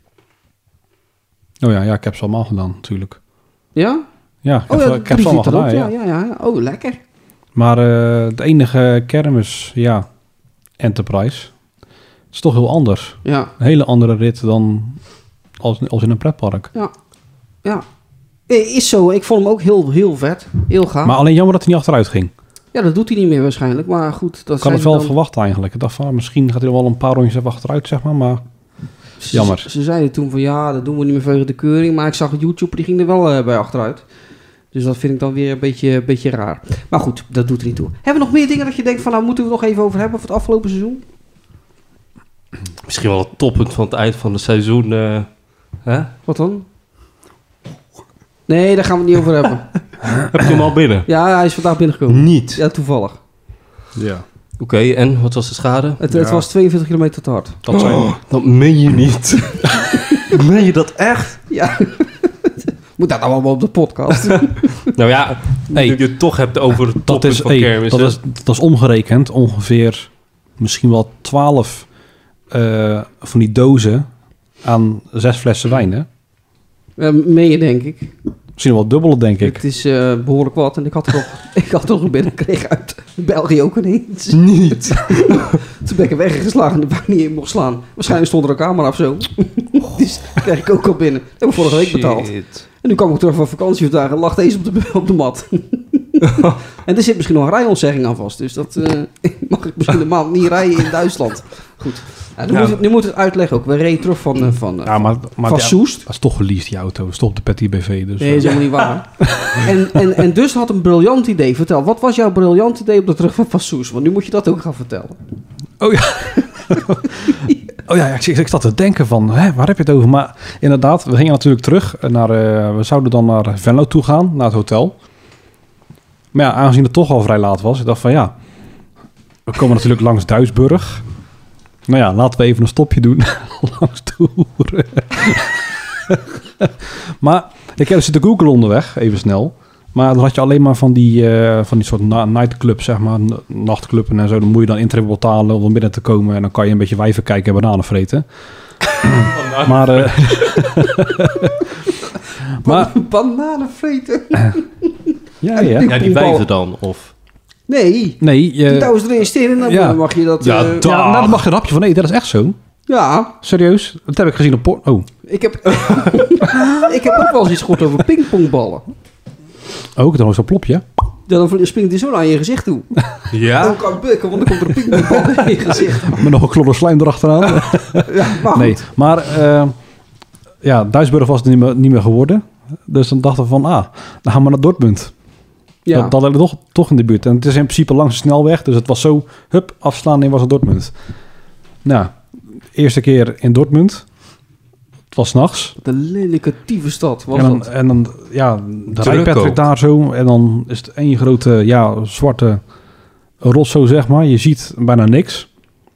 C: Oh ja, ja, ik heb ze allemaal gedaan natuurlijk.
D: Ja?
C: Ja, ik heb,
D: Oh
C: ze-
D: ja,
C: ik heb ze allemaal
D: Drievliet dan ook.
C: gedaan, ja.
D: ja, ja, ja. Oh, lekker.
C: Maar eh de enige kermis, ja, Enterprise. Het is toch heel anders.
D: Ja,
C: Een hele andere rit dan als, als in een pretpark.
D: ja. Eh, Is zo, ik vond hem ook heel, heel vet. Heel gaaf.
C: Maar alleen jammer dat hij niet achteruit ging.
D: ja, dat doet hij niet meer waarschijnlijk, maar goed. Dat
C: Ik had
D: zijn
C: het wel
D: dan-
C: verwacht eigenlijk. Ik dacht van, ah, misschien gaat hij er wel een paar rondjes even achteruit, zeg maar. Maar
D: Ze-
C: Jammer.
D: Ze, zeiden toen van ja, dat doen we niet meer vanwege de keuring. Maar ik zag YouTube, die ging er wel eh, bij achteruit. Dus dat vind ik dan weer een beetje, een beetje raar. Maar goed, dat doet er niet toe. Hebben we nog meer dingen dat je denkt van nou moeten we het nog even over hebben voor het afgelopen seizoen?
E: Misschien wel het toppunt van het eind van het seizoen. eh, hè?
D: Wat dan? Nee, daar gaan we het niet over
C: [LAUGHS]
D: hebben.
E: Heb je hem al binnen?
D: Ja, hij is vandaag binnengekomen.
E: Niet.
D: Ja, toevallig.
C: ja.
E: Oké, en wat was de schade?
D: Het, het
C: Ja.
D: was 42 kilometer te hard.
C: dat zijn...
E: Dat meen je niet. [LAUGHS] meen je dat echt?
D: Ja. [LAUGHS] Moet dat nou allemaal op de podcast?
E: Nou ja,
C: Hey,
E: nu je het toch hebt over het
C: dat,
E: toppunt
C: is,
E: van
C: hey,
E: kermis.
C: dat,
E: hè?
C: is, dat is omgerekend ongeveer misschien wel 12 eh, van die dozen aan zes flessen wijn, hè?
D: Eh, Meen je, denk ik.
C: Misschien wel het dubbele, denk ik.
D: Het is eh, behoorlijk wat. En ik had er nog, [LAUGHS] ik had er nog binnengekregen uit België ook ineens.
E: Niet.
D: [LAUGHS] Toen ben ik hem weggeslagen en waar ik niet in mocht slaan. Waarschijnlijk stond er een camera of zo. dus kreeg ik ook al binnen. Dat heb ik vorige week betaald.
E: Shit.
D: En nu kwam ik terug van vakantie vandaag en lag deze op de, op de mat. en er zit misschien nog een rijontzegging aan vast. Dus dat eh, [LAUGHS] mag ik misschien een maand niet rijden in Duitsland. Goed. Ja, nu,
E: Ja.
D: Moet het, nu moet het uitleggen ook. We reden terug van, eh, van, eh,
C: Ja, maar, maar
D: van
C: die-
D: Soest.
C: dat is toch geleased, die auto. Dat is toch de Petty BV, dus...
D: Nee,
C: eh,
D: dat is helemaal niet
C: [LAUGHS]
D: waar. En, en, en dus had een briljant idee. Vertel, wat was jouw briljant idee op de terug van Fassoes? Want nu moet je dat ook gaan vertellen.
C: Oh ja. [LAUGHS] oh ja, ja, ik, ik, ik zat te denken van, hè, waar heb je het over? Maar inderdaad, we gingen natuurlijk terug naar, eh, we zouden dan naar Venlo toe gaan, naar het hotel. Maar ja, aangezien het toch al vrij laat was, ik dacht van ja, we komen natuurlijk langs Duisburg. Nou ja, laten we even een stopje doen [LAUGHS] langs Toeren. [LAUGHS] maar ik heb zitten Google onderweg, even snel. Maar dan had je alleen maar van die, eh, van die soort na- nightclubs, zeg maar, n- nachtclubben en zo. Dan moet je dan intrip betalen om binnen te komen. En dan kan je een beetje wijven kijken en bananen vreten. maar, eh, [LAUGHS]
D: [LAUGHS]
C: maar, [LAUGHS]
D: Bananenvreten.
C: ja, ja.
E: Ja, die wijven dan, of?
D: Nee.
C: Nee, eh, je, ja,
D: Trouwens, erin investeren, dan
C: ja.
D: mag je dat...
E: Ja,
D: eh,
E: dat-
C: nou, daar mag je een hapje van. Nee, dat is echt zo.
D: ja,
C: Serieus? Dat heb ik gezien op porno. Oh,
D: ik heb, [LAUGHS] ik heb ook wel eens iets gehoord over pingpongballen.
C: ook dan was zo'n plopje.
D: Ja, dan springt die zo naar je gezicht toe.
E: Ja.
D: Dan kan ik bukken, want dan komt er een pingpongbal in je gezicht.
C: Met nog een klodder slijm erachteraan.
D: Ja, maar
C: nee,
D: goed.
C: maar eh, ja, Duisburg was het niet meer, niet meer geworden. Dus dan dachten we van, ah, dan gaan we naar Dortmund.
D: Ja.
C: Dat, dat hadden we toch, toch in de buurt. En het is in principe langs de snelweg. Dus het was zo, hup, afslaan in was het Dortmund. Nou, eerste keer in Dortmund. Het was 's nachts.
D: Wat een lelijke tieve stad was
C: En dan,
D: dat.
C: en dan, ja, de
E: Druk
C: Patrick
E: ook.
C: daar zo. En dan is het één grote, ja, zwarte rotzo, zeg maar. Je ziet bijna niks.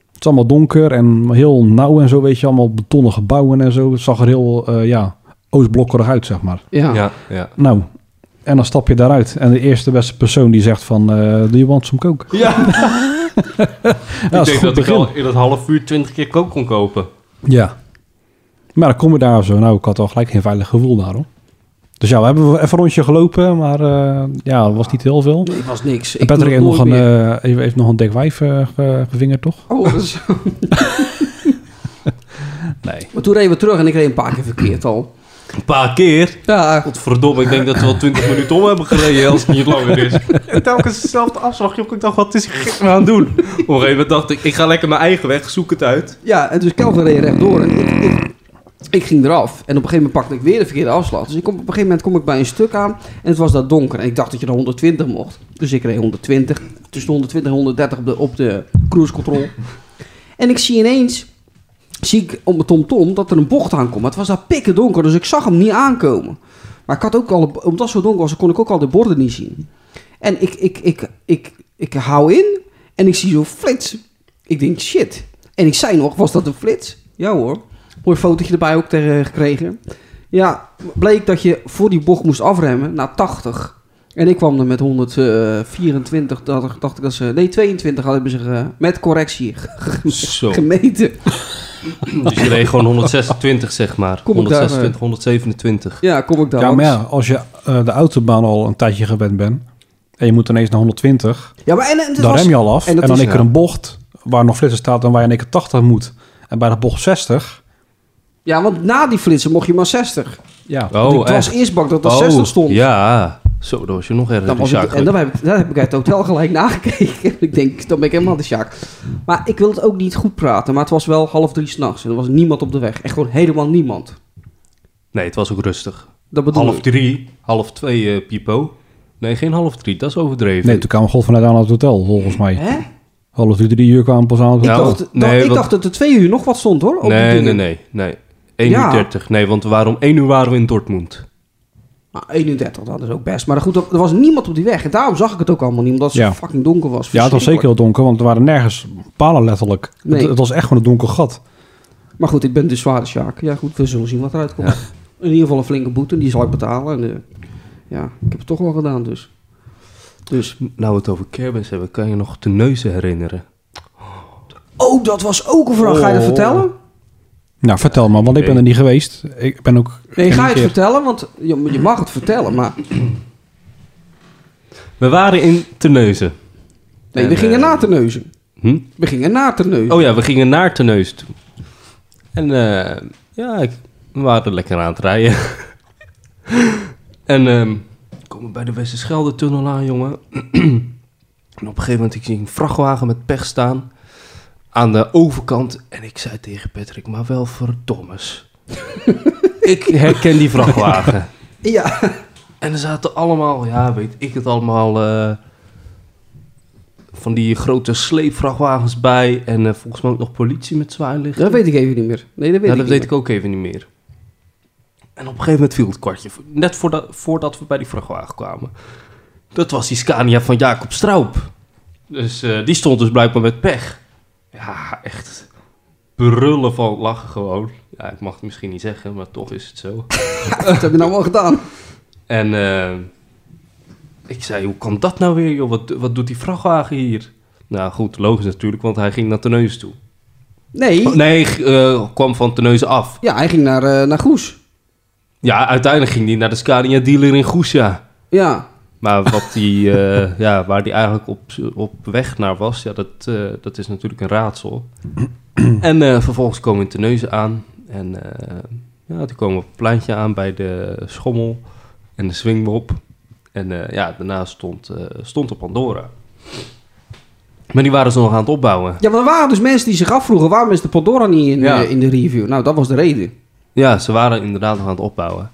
C: Het is allemaal donker en heel nauw en zo, weet je. Allemaal betonnen gebouwen en zo. Het zag er heel, eh, ja, oostblokkerig uit, zeg maar.
D: Ja.
E: Ja, ja.
C: Nou, en dan stap je daaruit. En de eerste beste persoon die zegt van... eh do you want some coke? [LAUGHS] Ja,
E: ik
C: dat is een
E: denk dat
C: goed
E: ik
C: begin.
E: al in dat half uur twintig keer kook kon kopen.
C: Ja. Maar dan kom je daar zo. Nou, ik had al gelijk geen veilig gevoel daarom. Dus ja, we hebben even een rondje gelopen, maar eh, ja, dat was niet heel veel.
D: Nee, was niks.
C: En Patrick heeft
D: doe het
C: nog, een,
D: nooit meer.
C: eh, heeft, heeft nog een dik wijf eh, ge- gevingerd, toch?
D: Oh, dat is-
C: Nee.
D: Maar toen reden we terug en ik reed een paar keer verkeerd al.
E: Een paar keer?
D: Ja,
E: Godverdomme, ik denk dat we al twintig minuten om hebben gereden als het niet langer is. En telkens dezelfde afslag. joh. Ik dacht, wat is hij gek me aan het doen? Op een gegeven moment dacht ik, ik ga lekker mijn eigen weg, zoek het uit.
D: ja en dus Kelvin reed rechtdoor. En ik, ik, Ik ging eraf en op een gegeven moment pakte ik weer de verkeerde afslag. Dus ik kom, op een gegeven moment kom ik bij een stuk aan en het was daar donker. En ik dacht dat je er 120 mocht. Dus ik reed 120, tussen de 120 en 130 op de, op de cruise control. En ik zie ineens, zie ik op mijn tomtom dat er een bocht aankomt. Maar het was daar pikken donker, dus ik zag hem niet aankomen. Maar ik had ook al, omdat het zo donker was, kon ik ook al de borden niet zien. En ik, ik, ik, ik, ik, ik hou in en ik zie zo'n flits. Ik denk, shit. En ik zei nog, was dat een flits? Ja hoor. Mooi fotootje erbij ook tegen gekregen. Ja, bleek dat je voor die bocht moest afremmen naar 80. En ik kwam er met 124, dacht, dacht ik dat ze... Nee, 22 hadden ze ge- met correctie [LAUGHS]
E: Zo.
D: gemeten.
E: Dus je reed gewoon 126, zeg maar.
D: Kom ik daar, eh?
E: 126, 127.
D: Ja, kom ik daar
C: Ja, maar ja,
D: langs.
C: als je eh, de autobaan al een tijdje gewend bent en je moet ineens naar 120,
D: Ja, maar en, en het
C: dan
D: was-
C: rem je al af.
D: en
C: En,
D: dat
C: dan
D: is-
C: ik er een bocht waar nog flitsen staat en waar je in één keer 80 moet. En bij de bocht 60,
D: Ja, want na die flitsen mocht je maar 60.
C: ja,
E: Oh,
D: het was
E: echt?
D: eerst bak dat er 60 stond.
E: Ja, zo, dan was je nog erger.
D: Dan was
E: die
D: ik,
E: zaak.
D: en dan heb, ik, dan heb ik uit het hotel gelijk [LAUGHS] nagekeken. ik denk, dan ben ik helemaal de Sjaak. Maar ik wil het ook niet goed praten. Maar het was wel half drie s'nachts. En er was niemand op de weg. Echt gewoon helemaal niemand.
E: Nee, het was ook rustig.
D: Dat bedoel
E: Half
D: ik.
E: drie, half twee, eh, Pipo. Nee, geen half drie, dat is overdreven.
C: nee, toen kwam God vanuit aan het hotel, volgens mij.
D: Hè?
C: Half drie, drie uur kwamen pas aan het
D: Ik,
E: Nou,
C: hotel.
D: dacht, dat-
E: nee,
D: ik
E: want-
D: dacht dat er twee uur nog wat stond hoor. op die
E: nee, nee,
D: dingen.
E: nee, nee. 1
D: Ja.
E: uur 30. Nee, want waarom 1 uur waren we in Dortmund.
D: Nou, 31, dat is ook best. Maar goed, er er was niemand op die weg. En daarom zag ik het ook allemaal niet. Omdat het
C: Ja.
D: zo fucking donker was.
C: ja, het was zeker heel donker, want er waren nergens palen letterlijk.
D: Nee.
C: Het, het was echt gewoon een donker gat.
D: Maar goed, ik ben de zware Sjaak. Ja goed, we zullen zien wat eruit komt. In ieder geval een flinke boete. en Die zal ik betalen. En, eh, ja, ik heb het toch wel gedaan dus. Dus
E: Nou, we het over kermis hebben, kan je nog de neuzen herinneren?
D: Oh, dat was ook een vraag. Ga je dat
E: Oh.
D: vertellen?
C: Nou, vertel maar, want ik ben
E: Nee.
C: er niet geweest. Ik ben ook...
D: Nee, ga
C: geen
D: je het
C: keer-
D: vertellen? Want je, je mag het vertellen, maar...
E: We waren in Terneuzen.
D: Nee,
E: En,
D: we gingen
E: eh,
D: na te neuzen.
E: Hm?
D: We gingen na te neuzen.
E: Oh ja, we gingen naar Terneuzen toe. En eh, ja, ik, we waren lekker aan het rijden. [LAUGHS] en ehm, we komen bij de Westerschelde-tunnel aan, jongen. [CLEARS THROAT] en op een gegeven moment ik zie een vrachtwagen met pech staan aan de overkant. En ik zei tegen Patrick, maar wel verdommes. ik herken die vrachtwagen.
D: Ja.
E: En er zaten allemaal, ja, weet ik het allemaal, eh, van die grote sleepvrachtwagens bij. En eh, volgens mij ook nog politie met zwaailichten.
D: Dat weet ik even niet meer. Nee, dat weet
E: Ja,
D: ik
E: dat
D: niet
E: weet
D: meer.
E: ik ook even niet meer. En op een gegeven moment viel het kwartje. Net voordat, voordat we bij die vrachtwagen kwamen. Dat was die Scania van Jacob Straub. Dus eh, die stond dus blijkbaar met pech. Ja, echt brullen van lachen gewoon. Ja, ik mag het misschien niet zeggen, maar toch is het zo.
D: Wat heb je nou wel gedaan?
E: En eh, ik zei, hoe kan dat nou weer, joh? Wat, wat doet die vrachtwagen hier? Nou goed, logisch natuurlijk, want hij ging naar Terneuzen toe.
D: Nee.
E: Oh, Nee, g- eh, kwam van Terneuzen af.
D: Ja, hij ging naar, eh, naar Goes.
E: Ja, uiteindelijk ging hij naar de Scania dealer in Goesja.
D: Ja.
E: Maar wat die, [LAUGHS] eh, ja, waar hij eigenlijk op, op weg naar was, ja, dat, eh, dat is natuurlijk een raadsel. en eh, vervolgens komen we in Terneuzen aan. En eh, ja, toen komen we op het pleintje aan bij de schommel en de swingbob. En eh, ja, daarna stond, eh, stond op Pandora. Maar die waren ze nog aan het opbouwen.
D: Ja, maar er waren dus mensen die zich afvroegen... waarom is de Pandora niet in,
E: Ja.
D: eh, in de review? Nou, dat was de reden.
E: Ja, ze waren inderdaad nog aan het opbouwen.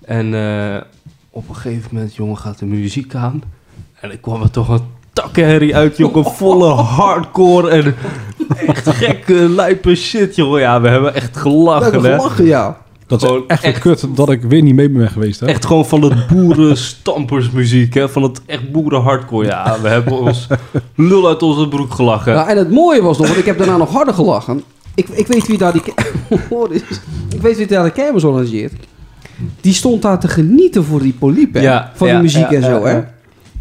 E: En eh, op een gegeven moment, jongen, gaat de muziek aan. En ik kwam er toch een takkenherrie
D: [LAUGHS]
E: uit, jongen. Volle hardcore en echt gekke, lijpe shit, jongen. Ja, we hebben echt
D: We
E: gelachen,
D: hebben
E: hè.
D: gelachen, ja.
C: Dat is
E: Gewoon
C: echt,
E: echt-
C: kut dat ik weer niet mee ben geweest, hè?
E: Echt gewoon van het boeren-stampersmuziek, hè. Van het echt boeren-hardcore. Ja, we hebben ons lul uit onze broek gelachen.
D: Nou, en het mooie was nog... want ik heb daarna [LAUGHS] nog harder gelachen. Ik, ik weet wie daar die... [LAUGHS] Boris, ik weet wie daar de kermis organiseert. Die stond daar te genieten voor die poliep, hè?
E: Ja,
D: van
E: ja,
D: die muziek
E: ja,
D: en zo,
E: ja,
D: hè?
E: ja.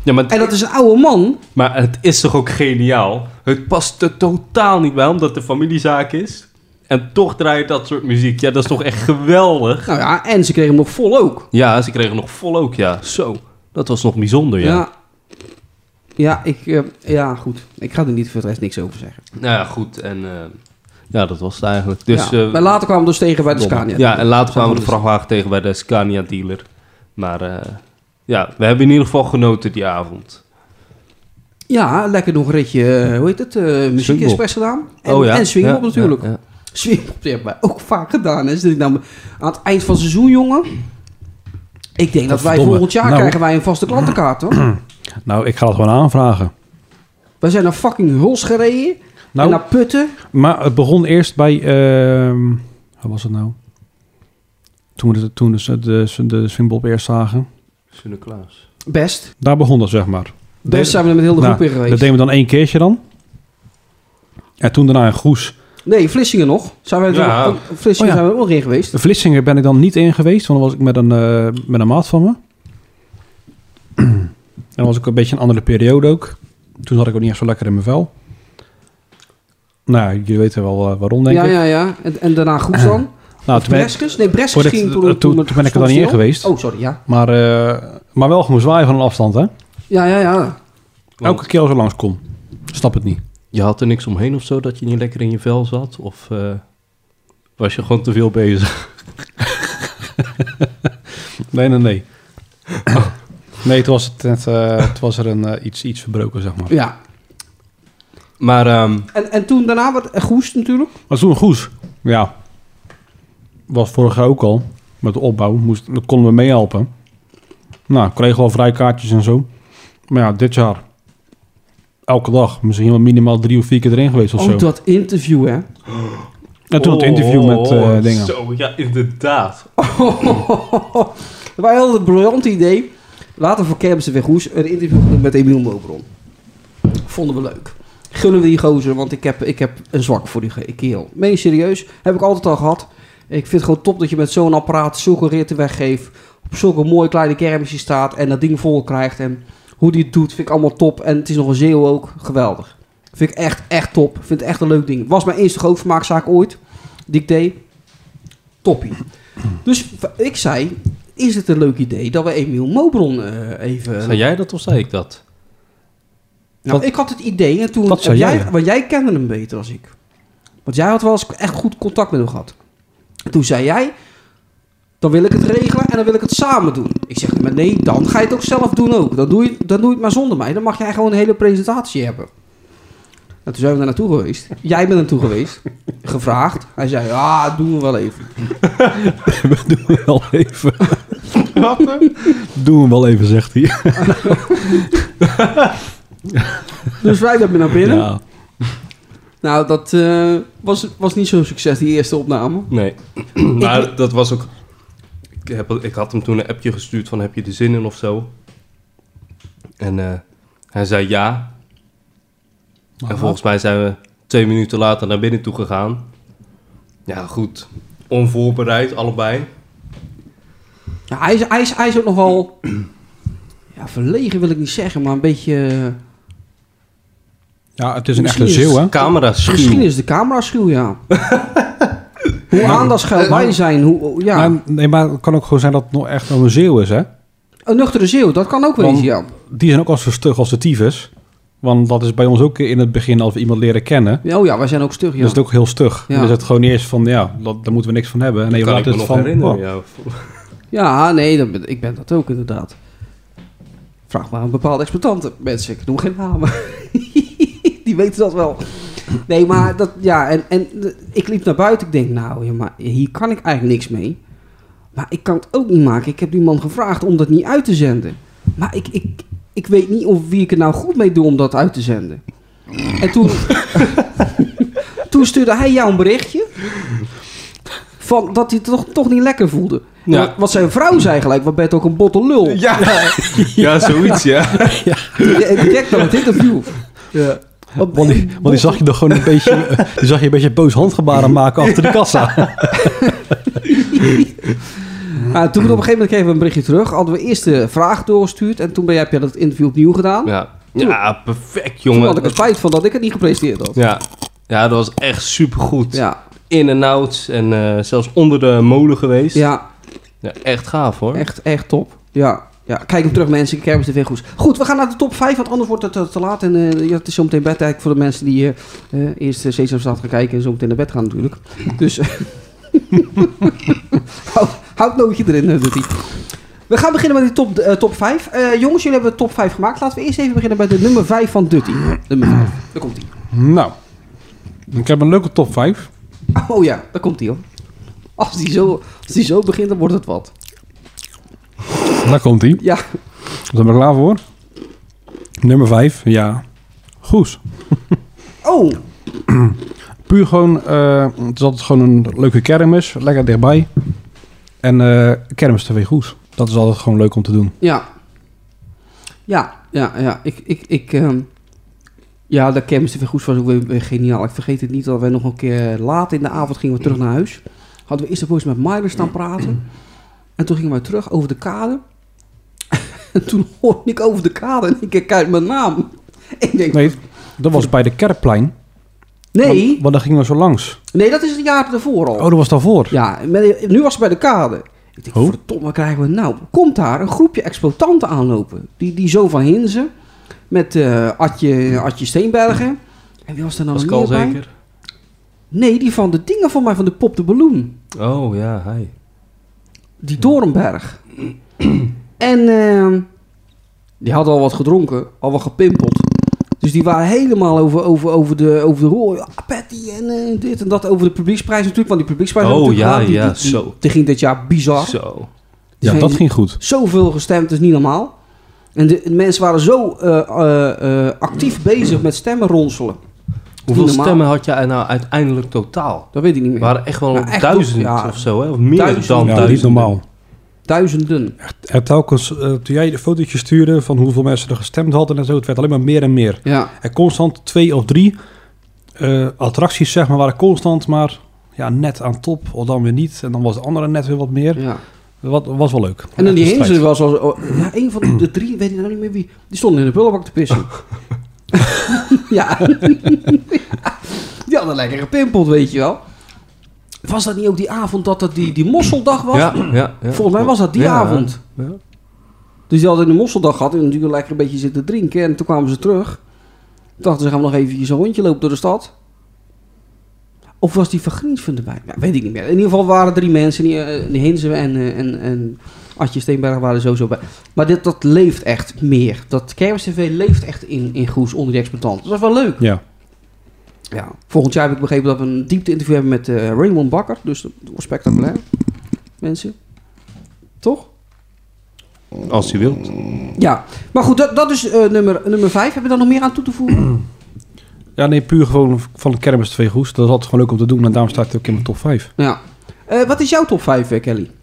E: Ja, maar
D: En dat is een oude man.
E: Maar het is toch ook geniaal? Het past er totaal niet bij, omdat de familiezaak is. En toch draait dat soort muziek. Ja, dat is toch echt geweldig?
D: Nou ja, en ze kregen hem nog vol ook.
E: Ja, ze kregen nog vol ook, ja. Zo, dat was nog bijzonder, ja.
D: Ja, ja, ik, eh, ja goed. Ik ga er niet voor het rest niks over zeggen.
E: Nou ja, goed. En eh, ja, dat was het eigenlijk. Dus,
D: ja.
E: eh,
D: maar later kwamen we dus tegen bij de
E: dom.
D: Scania.
E: Ja, en later kwamen we de
D: dus-
E: vrachtwagen tegen bij de Scania dealer. Maar eh, ja, we hebben in ieder geval genoten die avond.
D: Ja, lekker nog een ritje, eh, hoe heet het, eh muziekexpress gedaan. En,
E: oh ja.
D: en swingbop
E: Ja,
D: natuurlijk.
E: ja, ja.
D: Sweerpop, die hebben wij ook vaak gedaan. Hè. Zit ik nou aan het eind van het seizoen, jongen. Ik denk dat wij
C: Godverdomme.
D: volgend jaar
C: Nou.
D: krijgen wij een vaste klantenkaart, hoor.
C: Nou, ik ga het gewoon aanvragen.
D: wij zijn naar fucking Huls gereden.
C: Nou,
D: En naar Putten.
C: Maar het begon eerst bij... ehm wat was het nou? Toen we de, toen de, de, de Swimbop eerst zagen.
E: Sinterklaas.
D: Best.
C: Daar begon dat, zeg maar.
D: Best zijn we er met heel de groep
C: Nou,
D: weer geweest.
C: Dat deden we dan één keertje dan. En toen daarna in Goes.
D: Nee, Vlissingen nog. Zijn we er
E: Ja.
D: ook- Vlissingen
C: Oh, ja.
D: zijn we er ook in geweest.
C: De Vlissingen ben ik dan niet in geweest, want dan was ik met een, eh, met een maat van me. en dan was ik een beetje een andere periode ook. Toen zat ik ook niet echt zo lekker in mijn vel. Nou, jullie weten wel eh, waarom, denk
D: ja,
C: ik.
D: ja, ja. En, en daarna Groes dan.
C: Nou, toen ben ik-
D: Breskes? Nee, Breskes
C: Voordat-
D: ging
C: eh,
D: toen...
C: toen- toen ben ik er dan niet in
D: stil.
C: geweest.
D: Oh, sorry, ja.
C: maar, eh, maar wel gewoon zwaaien van een afstand, hè?
D: Ja, ja, ja.
E: Want
C: Elke keer als ik langskom. Snap het niet.
E: Je had er niks omheen of zo dat je niet lekker in je vel zat? Of eh, was je gewoon te veel bezig? [LAUGHS]
C: Nee, nee, nee. nee, toen was, het net, eh, toen was er een, eh, iets, iets verbroken, zeg maar.
D: ja.
E: Maar ehm,
D: En, en toen daarna wat eh, Goes natuurlijk.
C: Maar toen Goes, ja, was vorig jaar ook al met de opbouw. Moest, dat konden we meehelpen. Nou, kregen we al vrijkaartjes en zo. Maar ja, dit jaar, elke dag, misschien wel minimaal drie of vier keer erin geweest of
D: Ook
C: zo.
D: Oh, dat interview, hè.
C: en toen het
E: oh,
C: interview met eh,
E: oh,
C: dingen.
E: Zo, ja, inderdaad.
D: [LAUGHS] Dat was heel een briljant idee. Later voor Kermis en Weghoes een interview doen met Emiel Mobron. Vonden we leuk. Gunnen we die gozer, want ik heb, ik heb een zwak voor die ge- kerel. Meen je serieus? Heb ik altijd al gehad. Ik vind het gewoon top dat je met zo'n apparaat zulke ritten weggeeft. Op zulke mooie kleine kermisje staat en dat ding vol krijgt. En hoe die het doet, vind ik allemaal top. En het is nog een zeeuw ook. Geweldig. Vind ik echt, echt top. Vind het echt een leuk ding. Was mijn eerste grootvermaakzaak ooit. Die ik deed. Toppie. Dus v- ik zei, is het een leuk idee dat we Emiel Mobron eh, even...
E: Zei jij dat of zei ik dat?
D: nou,
C: dat-
D: ik had het idee en toen...
C: dat
D: heb
C: zei
D: jij,
C: jij, ja.
D: Want jij kende hem beter als ik. Want jij had wel eens echt goed contact met hem gehad. Toen zei jij, dan wil ik het regelen en dan wil ik het samen doen. Ik zeg, maar nee, dan ga je het ook zelf doen ook. Dan doe je, dan doe je het maar zonder mij. Dan mag jij gewoon een hele presentatie hebben. Nou, toen zijn we daar naartoe geweest. Jij bent naartoe geweest. Gevraagd. Hij zei, ja, dat doen we wel even.
C: We doen we wel even. Doen we wel even, zegt hij.
D: Dus wij hebben naar binnen.
C: Ja.
D: Nou, dat eh, was, was niet zo'n succes, die eerste opname.
E: [CLEARS THROAT] Nee. maar dat was ook... Ik, heb, ik had hem toen een appje gestuurd van heb je er zin in of zo? En eh, hij zei ja. En volgens mij zijn we twee minuten later naar binnen toe gegaan. Ja, goed. Onvoorbereid, allebei.
D: Ja, hij, is, hij, is, hij is ook nogal... [CLEARS THROAT] Ja, verlegen wil ik niet zeggen, maar een beetje... eh,
C: ja, het is een
D: Misschien
C: echte
D: is
C: zeeuw, hè?
E: Camera
D: Misschien
E: schuw.
D: is de camera
C: [LAUGHS]
D: schuw, ja. hoe aandachtsgeld wij zijn, hoe... hoe- Ja,
C: Nou, nee, Eh, maar het kan ook gewoon zijn dat het nog echt wel een zeeuw is, hè?
D: een nuchtere zeeuw, dat kan ook wel
C: Want-
D: eens, ja.
C: Die zijn ook al zo stug als de tyfus. Want dat is bij ons ook in het begin als we iemand leren kennen.
D: Ja, Oh ja, wij zijn ook stug, ja.
C: Dat is het ook heel stug.
D: Ja.
C: Dus het gewoon niet eens van, ja, dat, daar moeten we niks van hebben. Nee, we
E: kan ik
C: laten
E: me
C: het
E: nog
C: van,
E: herinneren,
C: oh,
E: ja.
D: Ja, nee, dat ben- ik ben dat ook inderdaad. Vraag maar aan bepaalde exploitanten, mensen. Ik noem geen namen. [LAUGHS] Die weten dat wel. Nee, maar dat, ja, en, en de- ik liep naar buiten. Ik denk, nou, ja, maar hier kan ik eigenlijk niks mee. Maar ik kan het ook niet maken. Ik heb die man gevraagd om dat niet uit te zenden. Maar ik, ik, ik weet niet of wie ik er nou goed mee doe om dat uit te zenden. En toen, [LAUGHS] toen stuurde hij jou een berichtje. Van dat hij het toch, toch niet lekker voelde. En
E: Ja.
D: Wat, wat zijn vrouw zei gelijk, wat ben je toch een botte lul.
E: Ja, ja, zoiets, ja.
D: Direct naar het interview.
C: Want, die, want die zag je nog gewoon een beetje, [LAUGHS] eh, die zag je een beetje boos handgebaren maken achter de kassa.
D: Ah, toen op een gegeven moment kregen we een berichtje terug. Hadden we eerst de vraag doorgestuurd. En toen ben jij, heb jij dat interview opnieuw gedaan.
E: Ja, ja perfect,
D: Toen
E: jongen.
D: had ik er spijt van dat ik het niet gepresenteerd had.
E: Ja. ja, dat was echt supergoed.
D: Ja,
E: In en out en eh, zelfs onder de molen geweest.
D: ja
E: Ja, echt gaaf, hoor.
D: echt, echt top. Ja. ja, kijk hem terug mensen. Ik heb TV goed. Goed, we gaan naar de top 5, want anders wordt het eh, te laat. En eh, ja, het is zo meteen bedtijd voor de mensen die eh, eh, eerst uh, Sesam staat gaan kijken en zo meteen naar bed gaan natuurlijk. Dus eh, [LAUGHS] houd, houd nootje erin, eh, Dutty. We gaan beginnen met die top, eh, top 5. Eh, jongens, jullie hebben de top 5 gemaakt. Laten we eerst even beginnen bij de nummer 5 van Dutty. Nummer 5, daar komt hij.
C: Nou, ik heb een leuke top 5.
D: Oh ja, daar komt hij hoor. Als die, zo, als die zo begint, dan wordt het wat.
C: Daar komt hij.
D: Ja,
C: Zijn we klaar voor? Nummer 5, ja. Goes.
D: oh,
C: Puur gewoon, eh, het is altijd gewoon een leuke kermis, lekker dichtbij. En eh kermis TV Goes. Dat is altijd gewoon leuk om te doen.
D: ja. Ja, ja, ja. Ik, ik, ik, ehm, ja, de kermis TV Goes was ook weer, weer geniaal. Ik vergeet het niet dat wij nog een keer laat in de avond gingen we terug naar huis. Hadden we eerst nog eens met Myler staan praten. En toen gingen wij terug over de kade. [LAUGHS] En toen hoorde ik over de kade en ik kijk mijn naam. Ik denk,
C: Nee, dat was bij de Kerkplein.
D: nee,
C: Want, want daar gingen we zo langs.
D: nee, dat is het jaar ervoor al.
C: Oh, dat was daarvoor.
D: Ja, met- nu was het bij de kade. Ik denk,
C: Oh.
D: verdomme, wat krijgen we nou? Komt daar een groepje exploitanten aanlopen. Die, die zo van Hinzen. Met eh, Adje, Adje Steenbergen. En wie was daar nou nog
E: Pascal
D: meer bij?
E: zeker?
D: Nee, die van de dingen van mij, van de Pop de Balloon.
E: Oh ja, hi.
D: Die Dorenberg. en eh, die hadden al wat gedronken, al wat gepimpeld. Dus die waren helemaal over, over, over de, over de rol. Ja, Patty en eh, dit en dat. Over de publieksprijs natuurlijk. Want die publieksprijs
E: Oh,
D: had natuurlijk
E: ja,
D: gehad. die,
E: ja,
D: die- die-
E: zo.
D: Die ging dit jaar bizar.
E: Zo.
C: Ja,
D: Zijn-
C: dat ging goed.
D: zoveel gestemd, dat is niet normaal. En de, de mensen waren zo eh, eh, eh, actief bezig met stemmen ronselen.
E: Hoeveel
D: normaal.
E: stemmen had jij nou uiteindelijk totaal?
D: Dat weet ik niet meer.
E: Er waren echt wel
D: Nou, echt
E: duizend
D: toch, ja.
E: of zo, hè? Of meer
D: Duizend.
E: dan
C: Ja,
E: duizend.
C: niet normaal.
D: Duizenden.
C: En telkens, eh, toen jij de fotootje stuurde van hoeveel mensen er gestemd hadden en zo, het werd alleen maar meer en meer.
D: Ja.
C: En constant twee of drie eh, attracties, zeg maar, waren constant maar ja, net aan top. Of dan weer niet. En dan was de andere net weer wat meer.
D: ja.
C: Wat was wel leuk.
D: En dan die
C: Echt een strijd.
D: Hinze was als... oh, ja, een van de drie, weet ik nou niet meer wie. Die stonden in de prullenbak te
E: [LAUGHS]
D: pissen. ja. Die hadden lekker gepimpeld, weet je wel. Was dat niet ook die avond dat dat die, die mosseldag was?
E: Ja, ja, ja.
D: Volgens mij was dat die
E: Ja.
D: avond.
E: Ja.
D: Dus die hadden een mosseldag gehad en natuurlijk lekker een beetje zitten drinken. En toen kwamen ze terug. Toen dachten ze, gaan we nog eventjes een rondje lopen door de stad. Of was die van Griensven erbij? Ja, weet ik niet meer. In ieder geval waren drie mensen, die, eh, die Hinze en, eh, en, en Adje Steenberg waren sowieso bij. Maar dit, dat leeft echt meer. Dat Kermis TV leeft echt in, in Goes onder die exploitanten. Dat is wel leuk.
C: Ja.
D: Ja. Volgend jaar heb ik begrepen dat we een diepte-interview hebben met eh, Raymond Bakker. Dus dat wordt spectaculair. Mensen. Toch?
E: Als je wilt.
D: Ja, maar goed, dat, dat is eh, nummer, nummer vijf. Heb je daar nog meer aan toe te
E: [CLEARS THROAT]
D: voegen?
C: ja, nee, puur gewoon van de kermis twee goes. Dat is altijd gewoon leuk om te doen. En daarom staat het ook in mijn top 5.
D: ja. Eh, wat is jouw top vijf, eh, Kelly? [LAUGHS]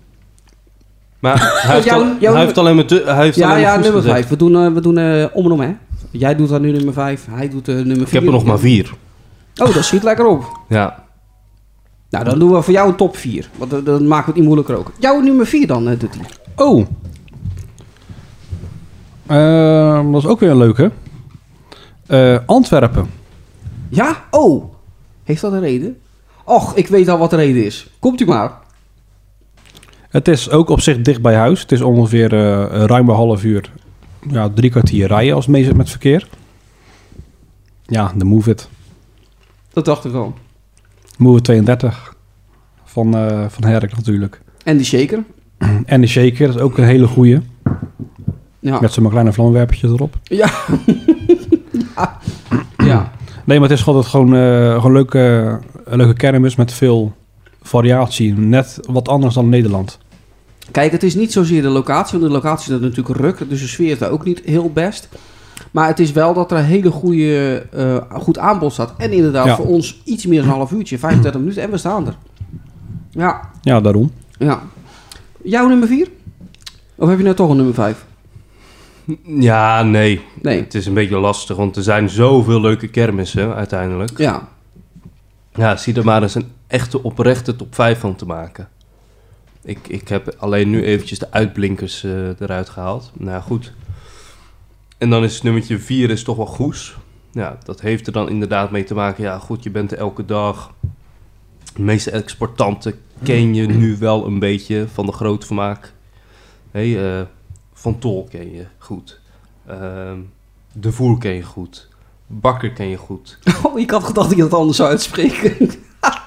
E: Maar hij heeft,
D: Jouw-
E: al-
D: jouw-
E: hij heeft alleen maar... te- Hij heeft
D: Ja,
E: alleen maar
D: ja,
E: goeds
D: nummer
E: gezegd.
D: vijf. We doen, eh, we doen eh, om en om, hè? Jij doet dan nu nummer vijf, hij doet eh, nummer
E: Ik
D: vier.
E: heb er nog maar vier.
D: Oh, dat schiet lekker op.
E: Ja.
D: Nou, dan doen we voor jou een top vier. Want eh, dan maken we het niet moeilijker ook. Jouw nummer vier dan, eh, doet hij.
C: Oh! Ehm, dat is ook weer een leuke. Eh, Antwerpen.
D: Ja? Oh, heeft dat een reden? Och, ik weet al wat de reden is. Komt u maar.
C: Het is ook op zich dicht bij huis. Het is ongeveer eh, ruim een half uur. Ja, drie kwartier rijden als het mee zit met verkeer. Ja, de Move It.
D: Dat dacht ik al.
C: Move It 32. Van, eh van Herk natuurlijk.
D: En die shaker.
C: En de Shaker, dat is ook een hele goeie.
D: Ja.
C: Met zo'n kleine vlammenwerpertjes erop.
D: Ja. [LAUGHS] ja. Ja.
C: Nee, maar het is altijd gewoon, eh, gewoon leuke, een leuke kermis met veel variatie. Net wat anders dan Nederland.
D: Kijk, het is niet zozeer de locatie, want de locatie is natuurlijk ruk, dus de sfeer is daar ook niet heel best. Maar het is wel dat er een hele goede, eh, goed aanbod staat. En inderdaad,
C: Ja.
D: voor ons iets meer dan een half uurtje, 35 minuten en we staan er. Ja,
C: Ja, daarom.
D: ja. Jouw nummer 4? Of heb je nou toch een nummer 5?
E: Ja, nee.
D: Nee.
E: Het is een beetje lastig, want er zijn zoveel leuke kermissen uiteindelijk.
D: Ja.
E: Ja, zie er maar eens een echte oprechte top 5 van te maken. Ik, ik heb alleen nu eventjes de uitblinkers eh, eruit gehaald. Nou goed. En dan is het nummertje 4 is toch wel Goes. Ja, dat heeft er dan inderdaad mee te maken. Ja, goed, je bent er elke dag. De meeste exportanten ken je nu wel een beetje van de grootvermaak. Hey, eh, van Tol ken je goed. Ehm, de Voer ken je goed. Bakker ken je goed.
D: [LAUGHS] Oh, ik had gedacht dat je dat anders zou uitspreken. [LAUGHS]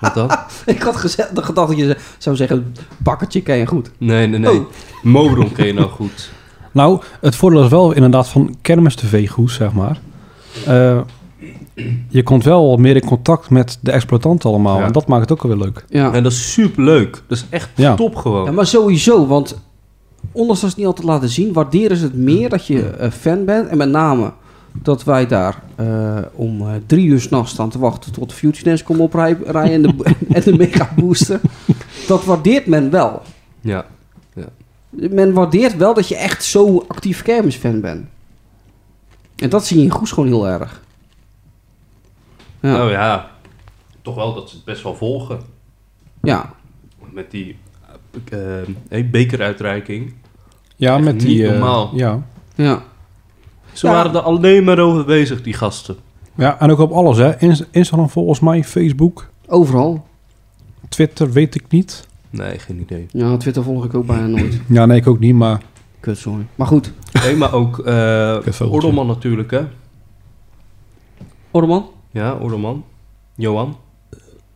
E: Wat dan?
D: ik had geze- gedacht dat je ze- zou zeggen, bakkertje ken je goed.
E: Nee, nee, nee.
D: Oh.
E: Modron ken je nou
D: [LAUGHS]
E: goed.
C: Nou, het voordeel is wel inderdaad van kermis-tv-goes, zeg maar. Eh, je komt wel wat meer in contact met de exploitant allemaal.
E: Ja.
C: En dat maakt het ook wel weer leuk.
D: Ja.
E: En dat is super leuk. Dat is echt
C: Ja.
E: top gewoon.
D: Ja, maar sowieso, want ondanks dat ze het niet altijd laten zien, waarderen ze het meer dat je eh, fan bent. En met name dat wij daar eh, om eh, drie uur s'nachts staan te wachten tot de Future Dance komt oprijden en de, bo- [LAUGHS] en de Mega Booster. Dat waardeert men wel.
E: Ja.
D: Men waardeert wel dat je echt zo actief kermisfan bent. En dat zie je in Goes gewoon heel erg. Ja.
E: Nou ja, toch wel dat ze het best wel volgen.
D: Ja,
E: Met die eh, eh, hey, bekeruitreiking.
C: Ja,
E: Echt
C: met die...
E: niet
C: eh,
E: normaal.
C: ja.
D: ja.
E: Ze
D: Ja.
E: waren er alleen maar over bezig, die gasten.
C: ja, en ook op alles, hè. Inst- Instagram volgens mij, Facebook,
D: Overal.
C: Twitter, weet ik niet.
E: Nee, geen
D: [LAUGHS]
E: idee.
D: Ja, Twitter volg ik ook bijna nooit.
C: Ja, nee, ik ook niet, maar...
D: Kut, sorry. Maar goed,
E: Nee, maar ook eh
C: Een vogeltje.
E: Ordelman natuurlijk, hè?
D: Orman.
E: Ja, Ordelman. Johan.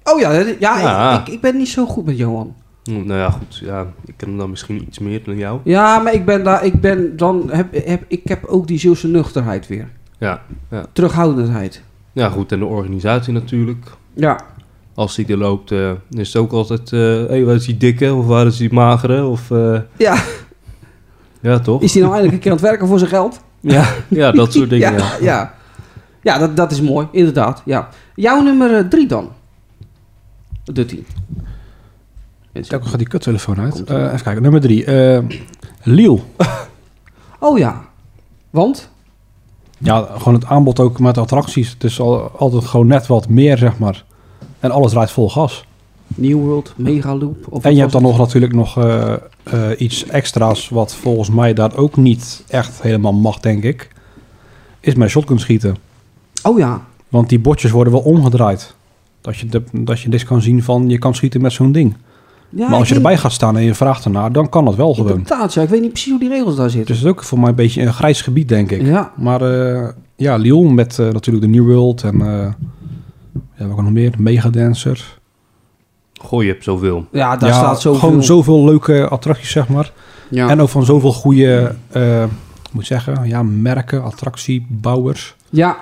D: Oh ja, dat- ja,
E: Ja.
D: Ik, ik, ik ben niet zo goed met Johan.
E: Hm, Nou ja, goed. Ja, ik ken hem dan misschien iets meer dan jou.
D: Ja, maar ik ben daar, ik ben dan, heb, heb, ik heb ook die Zeeuwse nuchterheid weer.
E: Ja.
D: Terughoudendheid.
E: ja, goed. En de organisatie natuurlijk.
D: Ja.
E: Als die er loopt, eh, is het ook altijd... eh hey, waar is die dikke? Of waar is die magere? Of, eh,
D: Ja,
E: ja, toch?
D: is hij nou eindelijk een keer aan het werken voor zijn geld? [LAUGHS]
E: Ja, ja, dat soort dingen. ja.
D: ja. Ja, Ja, dat, dat is mooi, inderdaad. Ja. Jouw nummer eh, drie dan? Dutty.
C: Kijk, hoe gaat die kuttelefoon uit? Eh, even kijken, nummer drie. eh, Liel.
D: Oh ja. Want?
C: Ja, gewoon het aanbod ook met attracties. Het is al, altijd gewoon net wat meer, zeg maar. En alles rijdt vol gas.
D: New World, Megaloop. Of
C: En je hebt
D: wat was
C: dan nog natuurlijk nog eh, eh, iets extra's... wat volgens mij daar ook niet echt helemaal mag, denk ik. Is met shotgun schieten.
D: het? Oh ja.
C: Want die botjes worden wel omgedraaid. Dat je, de, dat je dus kan zien van... je kan schieten met zo'n ding.
D: ja
C: maar als
D: ik
C: je
D: weet-
C: erbij gaat staan en je vraagt ernaar... dan kan dat wel gewoon.
D: Inderdaad, ja. Ik weet niet precies hoe die regels daar zitten.
C: Dus het is ook voor mij een beetje een grijs gebied, denk Dus ik.
D: ja.
C: Maar eh, ja, Lyon met eh, natuurlijk de New World en eh ja, wat nog meer, Megadancer.
E: Goh, je hebt zoveel.
D: Ja, daar
C: ja,
D: staat zoveel.
C: Gewoon zoveel leuke attracties, zeg maar.
D: Ja.
C: En ook van zoveel goede, eh, ik moet zeggen, ja, merken, attractiebouwers.
D: ja,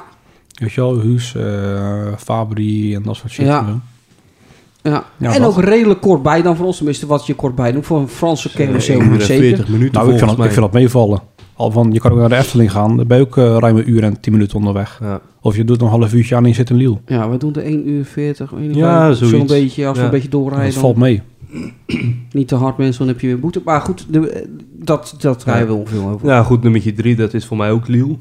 C: Weet je wel, Huus, eh, Fabri en dat soort shit. Nou,
D: Ja. Ja.
C: Ja,
D: en
C: dat.
D: ook redelijk kort bij dan voor ons, tenminste wat je kort bij doet. Voor een Franse kermis helemaal niet zeker.
E: 40 minuten
C: Nou, ik vind,
E: volgens
C: dat, ik
E: mij.
C: vind dat meevallen. Al van, je kan ook naar de Efteling gaan, dan ben je ook eh, ruim een uur en tien minuten onderweg.
E: Ja.
C: Of je doet een half uurtje aan en je zit in Liel.
D: Ja, we doen de 1 uur 40, 1 uur
E: Ja,
D: 5, zo'n
E: zoiets.
D: beetje. Als we
E: Ja.
D: een beetje doorrijden,
C: Dat
D: dan
C: valt mee.
D: niet te hard mensen, dan heb je weer boete. Maar goed, de- eh, dat, dat rijden we ongeveer over.
E: Ja, goed, nummertje 3, dat is voor mij ook Liel.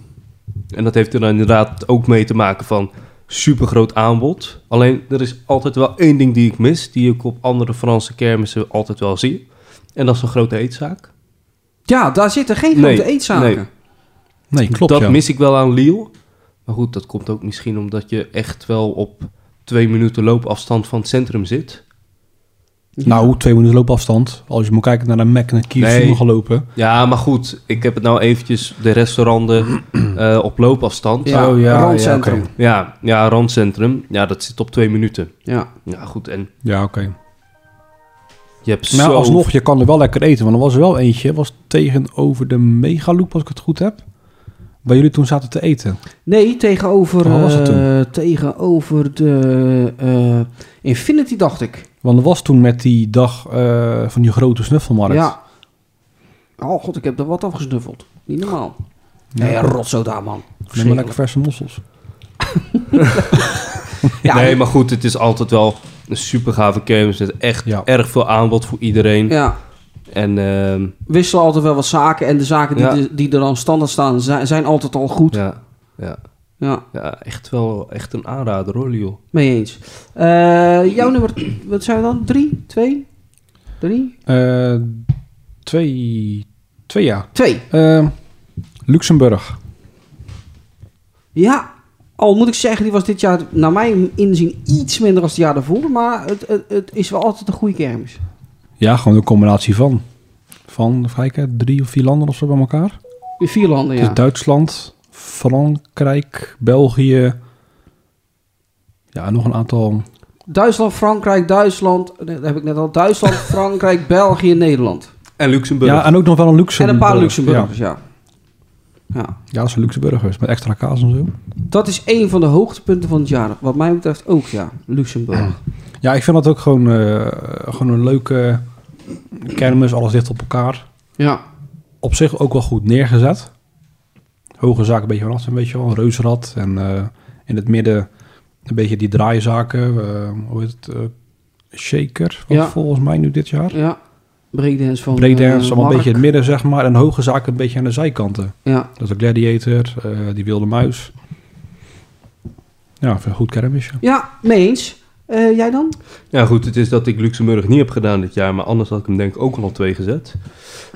E: En dat heeft er dan inderdaad ook mee te maken van supergroot aanbod. Alleen, er is altijd wel één ding die ik mis, die ik op andere Franse kermissen altijd wel zie. En dat is een grote eetzaak.
D: Ja, daar zitten geen
E: Nee,
D: grote eetzaken.
E: nee.
C: Nee, klopt
E: dat
C: ja.
E: mis ik wel aan Liel. Maar goed, dat komt ook misschien omdat je echt wel op twee minuten loopafstand van het centrum zit.
C: Nou, twee minuten loopafstand. Als je moet kijken naar een Mac en een Kier,
E: Nee.
C: nog lopen.
E: Ja, maar goed, ik heb het nou eventjes de restauranten [CLEARS THROAT] eh, op loopafstand.
D: Ja,
C: Oh, ja,
D: randcentrum.
C: ja,
D: Ja,
E: Ja, ja, randcentrum. Ja, dat zit op twee minuten. Ja, goed, en
C: Ja, oké.
E: je hebt
C: Maar
E: zo...
C: alsnog, je kan er wel lekker eten. Want er was er wel eentje, was tegenover de Megaloop, als ik het goed heb. Waar jullie toen zaten te eten.
D: Nee, tegenover,
C: Waar was het toen?
D: eh, tegenover de eh, Infinity, dacht ik.
C: Want er was toen met die dag eh, van die grote snuffelmarkt.
D: Ja. Oh god, ik heb er wat afgesnuffeld. Niet normaal. Nee, ja, rotzooi daar, man.
C: Neem maar
D: Verschrikkelijk.
C: lekker verse mossels.
D: Ja,
E: nee, maar goed, het is altijd wel een super gave kermis. Met echt
C: Ja.
E: erg veel aanbod voor iedereen.
D: ja.
E: En ehm,
D: wisselen altijd wel wat zaken. En de zaken die,
E: Ja.
D: de- die er dan standaard staan, zijn, zijn altijd al goed. Ja,
E: ja, ja, ja, echt wel echt een aanrader hoor, Liel.
D: mee eens. Eh, jouw nummer, wat zijn we dan? Drie? Twee? Drie?
C: Eh, twee, twee jaar.
D: Twee.
C: Eh, Luxemburg.
D: Ja, al moet ik zeggen, die was dit jaar naar mijn inzien iets minder als het jaar daarvoor. Maar het, het, het is wel altijd een goede kermis.
C: Ja, gewoon een combinatie van. Van, even kijken, drie of vier landen of zo bij elkaar.
D: In vier landen, ja.
C: Dus Duitsland, Frankrijk, België. Ja, en nog een aantal.
D: Duitsland, Frankrijk, Duitsland. nee, Dat heb ik net al. Duitsland, [LAUGHS] Frankrijk, België, Nederland.
E: En Luxemburg.
C: Ja, en ook nog wel een Luxemburg.
D: En een paar Luxemburgers, ja. Ja.
C: Ja, dat zijn luxe burgers met extra kaas en zo.
D: Dat is een van de hoogtepunten van het jaar. Wat mij betreft ook, ja. Luxemburg.
C: Ja, ik vind dat ook gewoon, eh, gewoon een leuke kermis, alles dicht op elkaar.
D: Ja.
C: Op zich ook wel goed neergezet. Hoge zaken, een beetje van alles, een beetje wel, een reusrad. En eh, in het midden een beetje die draaizaken, eh, hoe heet het, eh, shaker, wat
D: Ja.
C: volgens mij nu dit jaar.
D: Ja. Breakdance van
C: Breakdance,
D: eh,
C: allemaal een
D: Mark.
C: beetje in het midden, zeg maar. En hoge zaken een beetje aan de zijkanten.
D: Ja.
C: Dat is de gladiator, eh, die wilde muis. Ja, [LAUGHS] ik vind het een goed kermisje.
D: Ja, mee eens. Eh, jij dan?
E: Ja, goed, het is dat ik Luxemburg niet heb gedaan dit jaar, maar anders had ik hem denk ik ook al op twee gezet.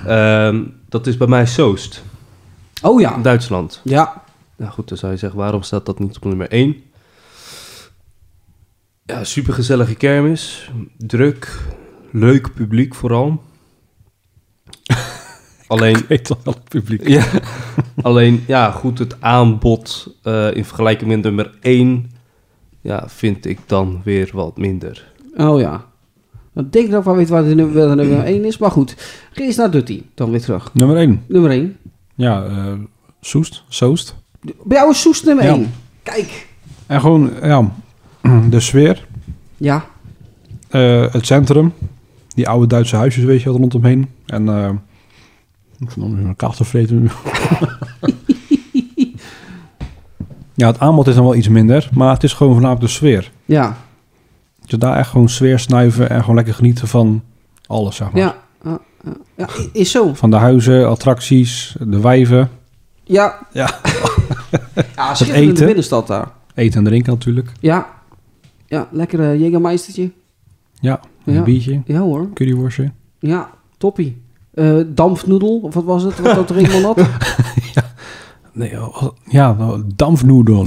E: Ehm, dat is bij mij Soest,
D: Oh ja.
E: Duitsland.
D: Ja.
E: Nou goed, dan zou je zeggen, waarom staat dat niet op nummer 1? Ja, supergezellige kermis. Druk. Leuk publiek [LAUGHS] vooral. Alleen,
C: Weet al wel het publiek.
E: ja, [LAUGHS] alleen, ja, goed, het aanbod eh, in vergelijking met nummer 1 ja, vind ik dan weer wat minder.
D: Oh ja. Dan denk ik dat ik wel weet waar de nummer, wel de nummer 1 is. Maar goed. Ga eerst naar Dutty. Dan weer terug.
C: Nummer 1.
D: Nummer 1.
C: Ja, eh, Soest, Soest.
D: Bij jou is Soest nummer
C: Ja.
D: 1. Kijk.
C: En gewoon, ja, [CLEARS THROAT] de sfeer,
D: Ja.
C: eh, het centrum, die oude Duitse huisjes, weet je, wel, rondomheen. En, eh, ik vind het een kaas te vreten nu. [LAUGHS] ja, het aanbod is dan wel iets minder, maar het is gewoon voornamelijk de sfeer.
D: Ja.
C: Dat je daar echt gewoon sfeer snuiven en gewoon lekker genieten van alles, zeg maar.
D: Ja. Ja. Ja. Ja, i- is zo.
C: Van de huizen, attracties, de wijven,
D: Ja.
C: Ja.
D: ja, schitterende
C: eten.
D: binnenstad daar.
C: eten en drinken natuurlijk.
D: Ja. Ja, lekker eh, Jägermeistertje.
C: Ja, een
D: Ja.
C: biertje,
D: Ja hoor.
C: curryworstje.
D: Ja, toppie. Eh dampfnoedel, of wat was het? Wat
C: [LAUGHS]
D: dat er eenmaal had?
C: Nee, oh, ja, dampnoedel.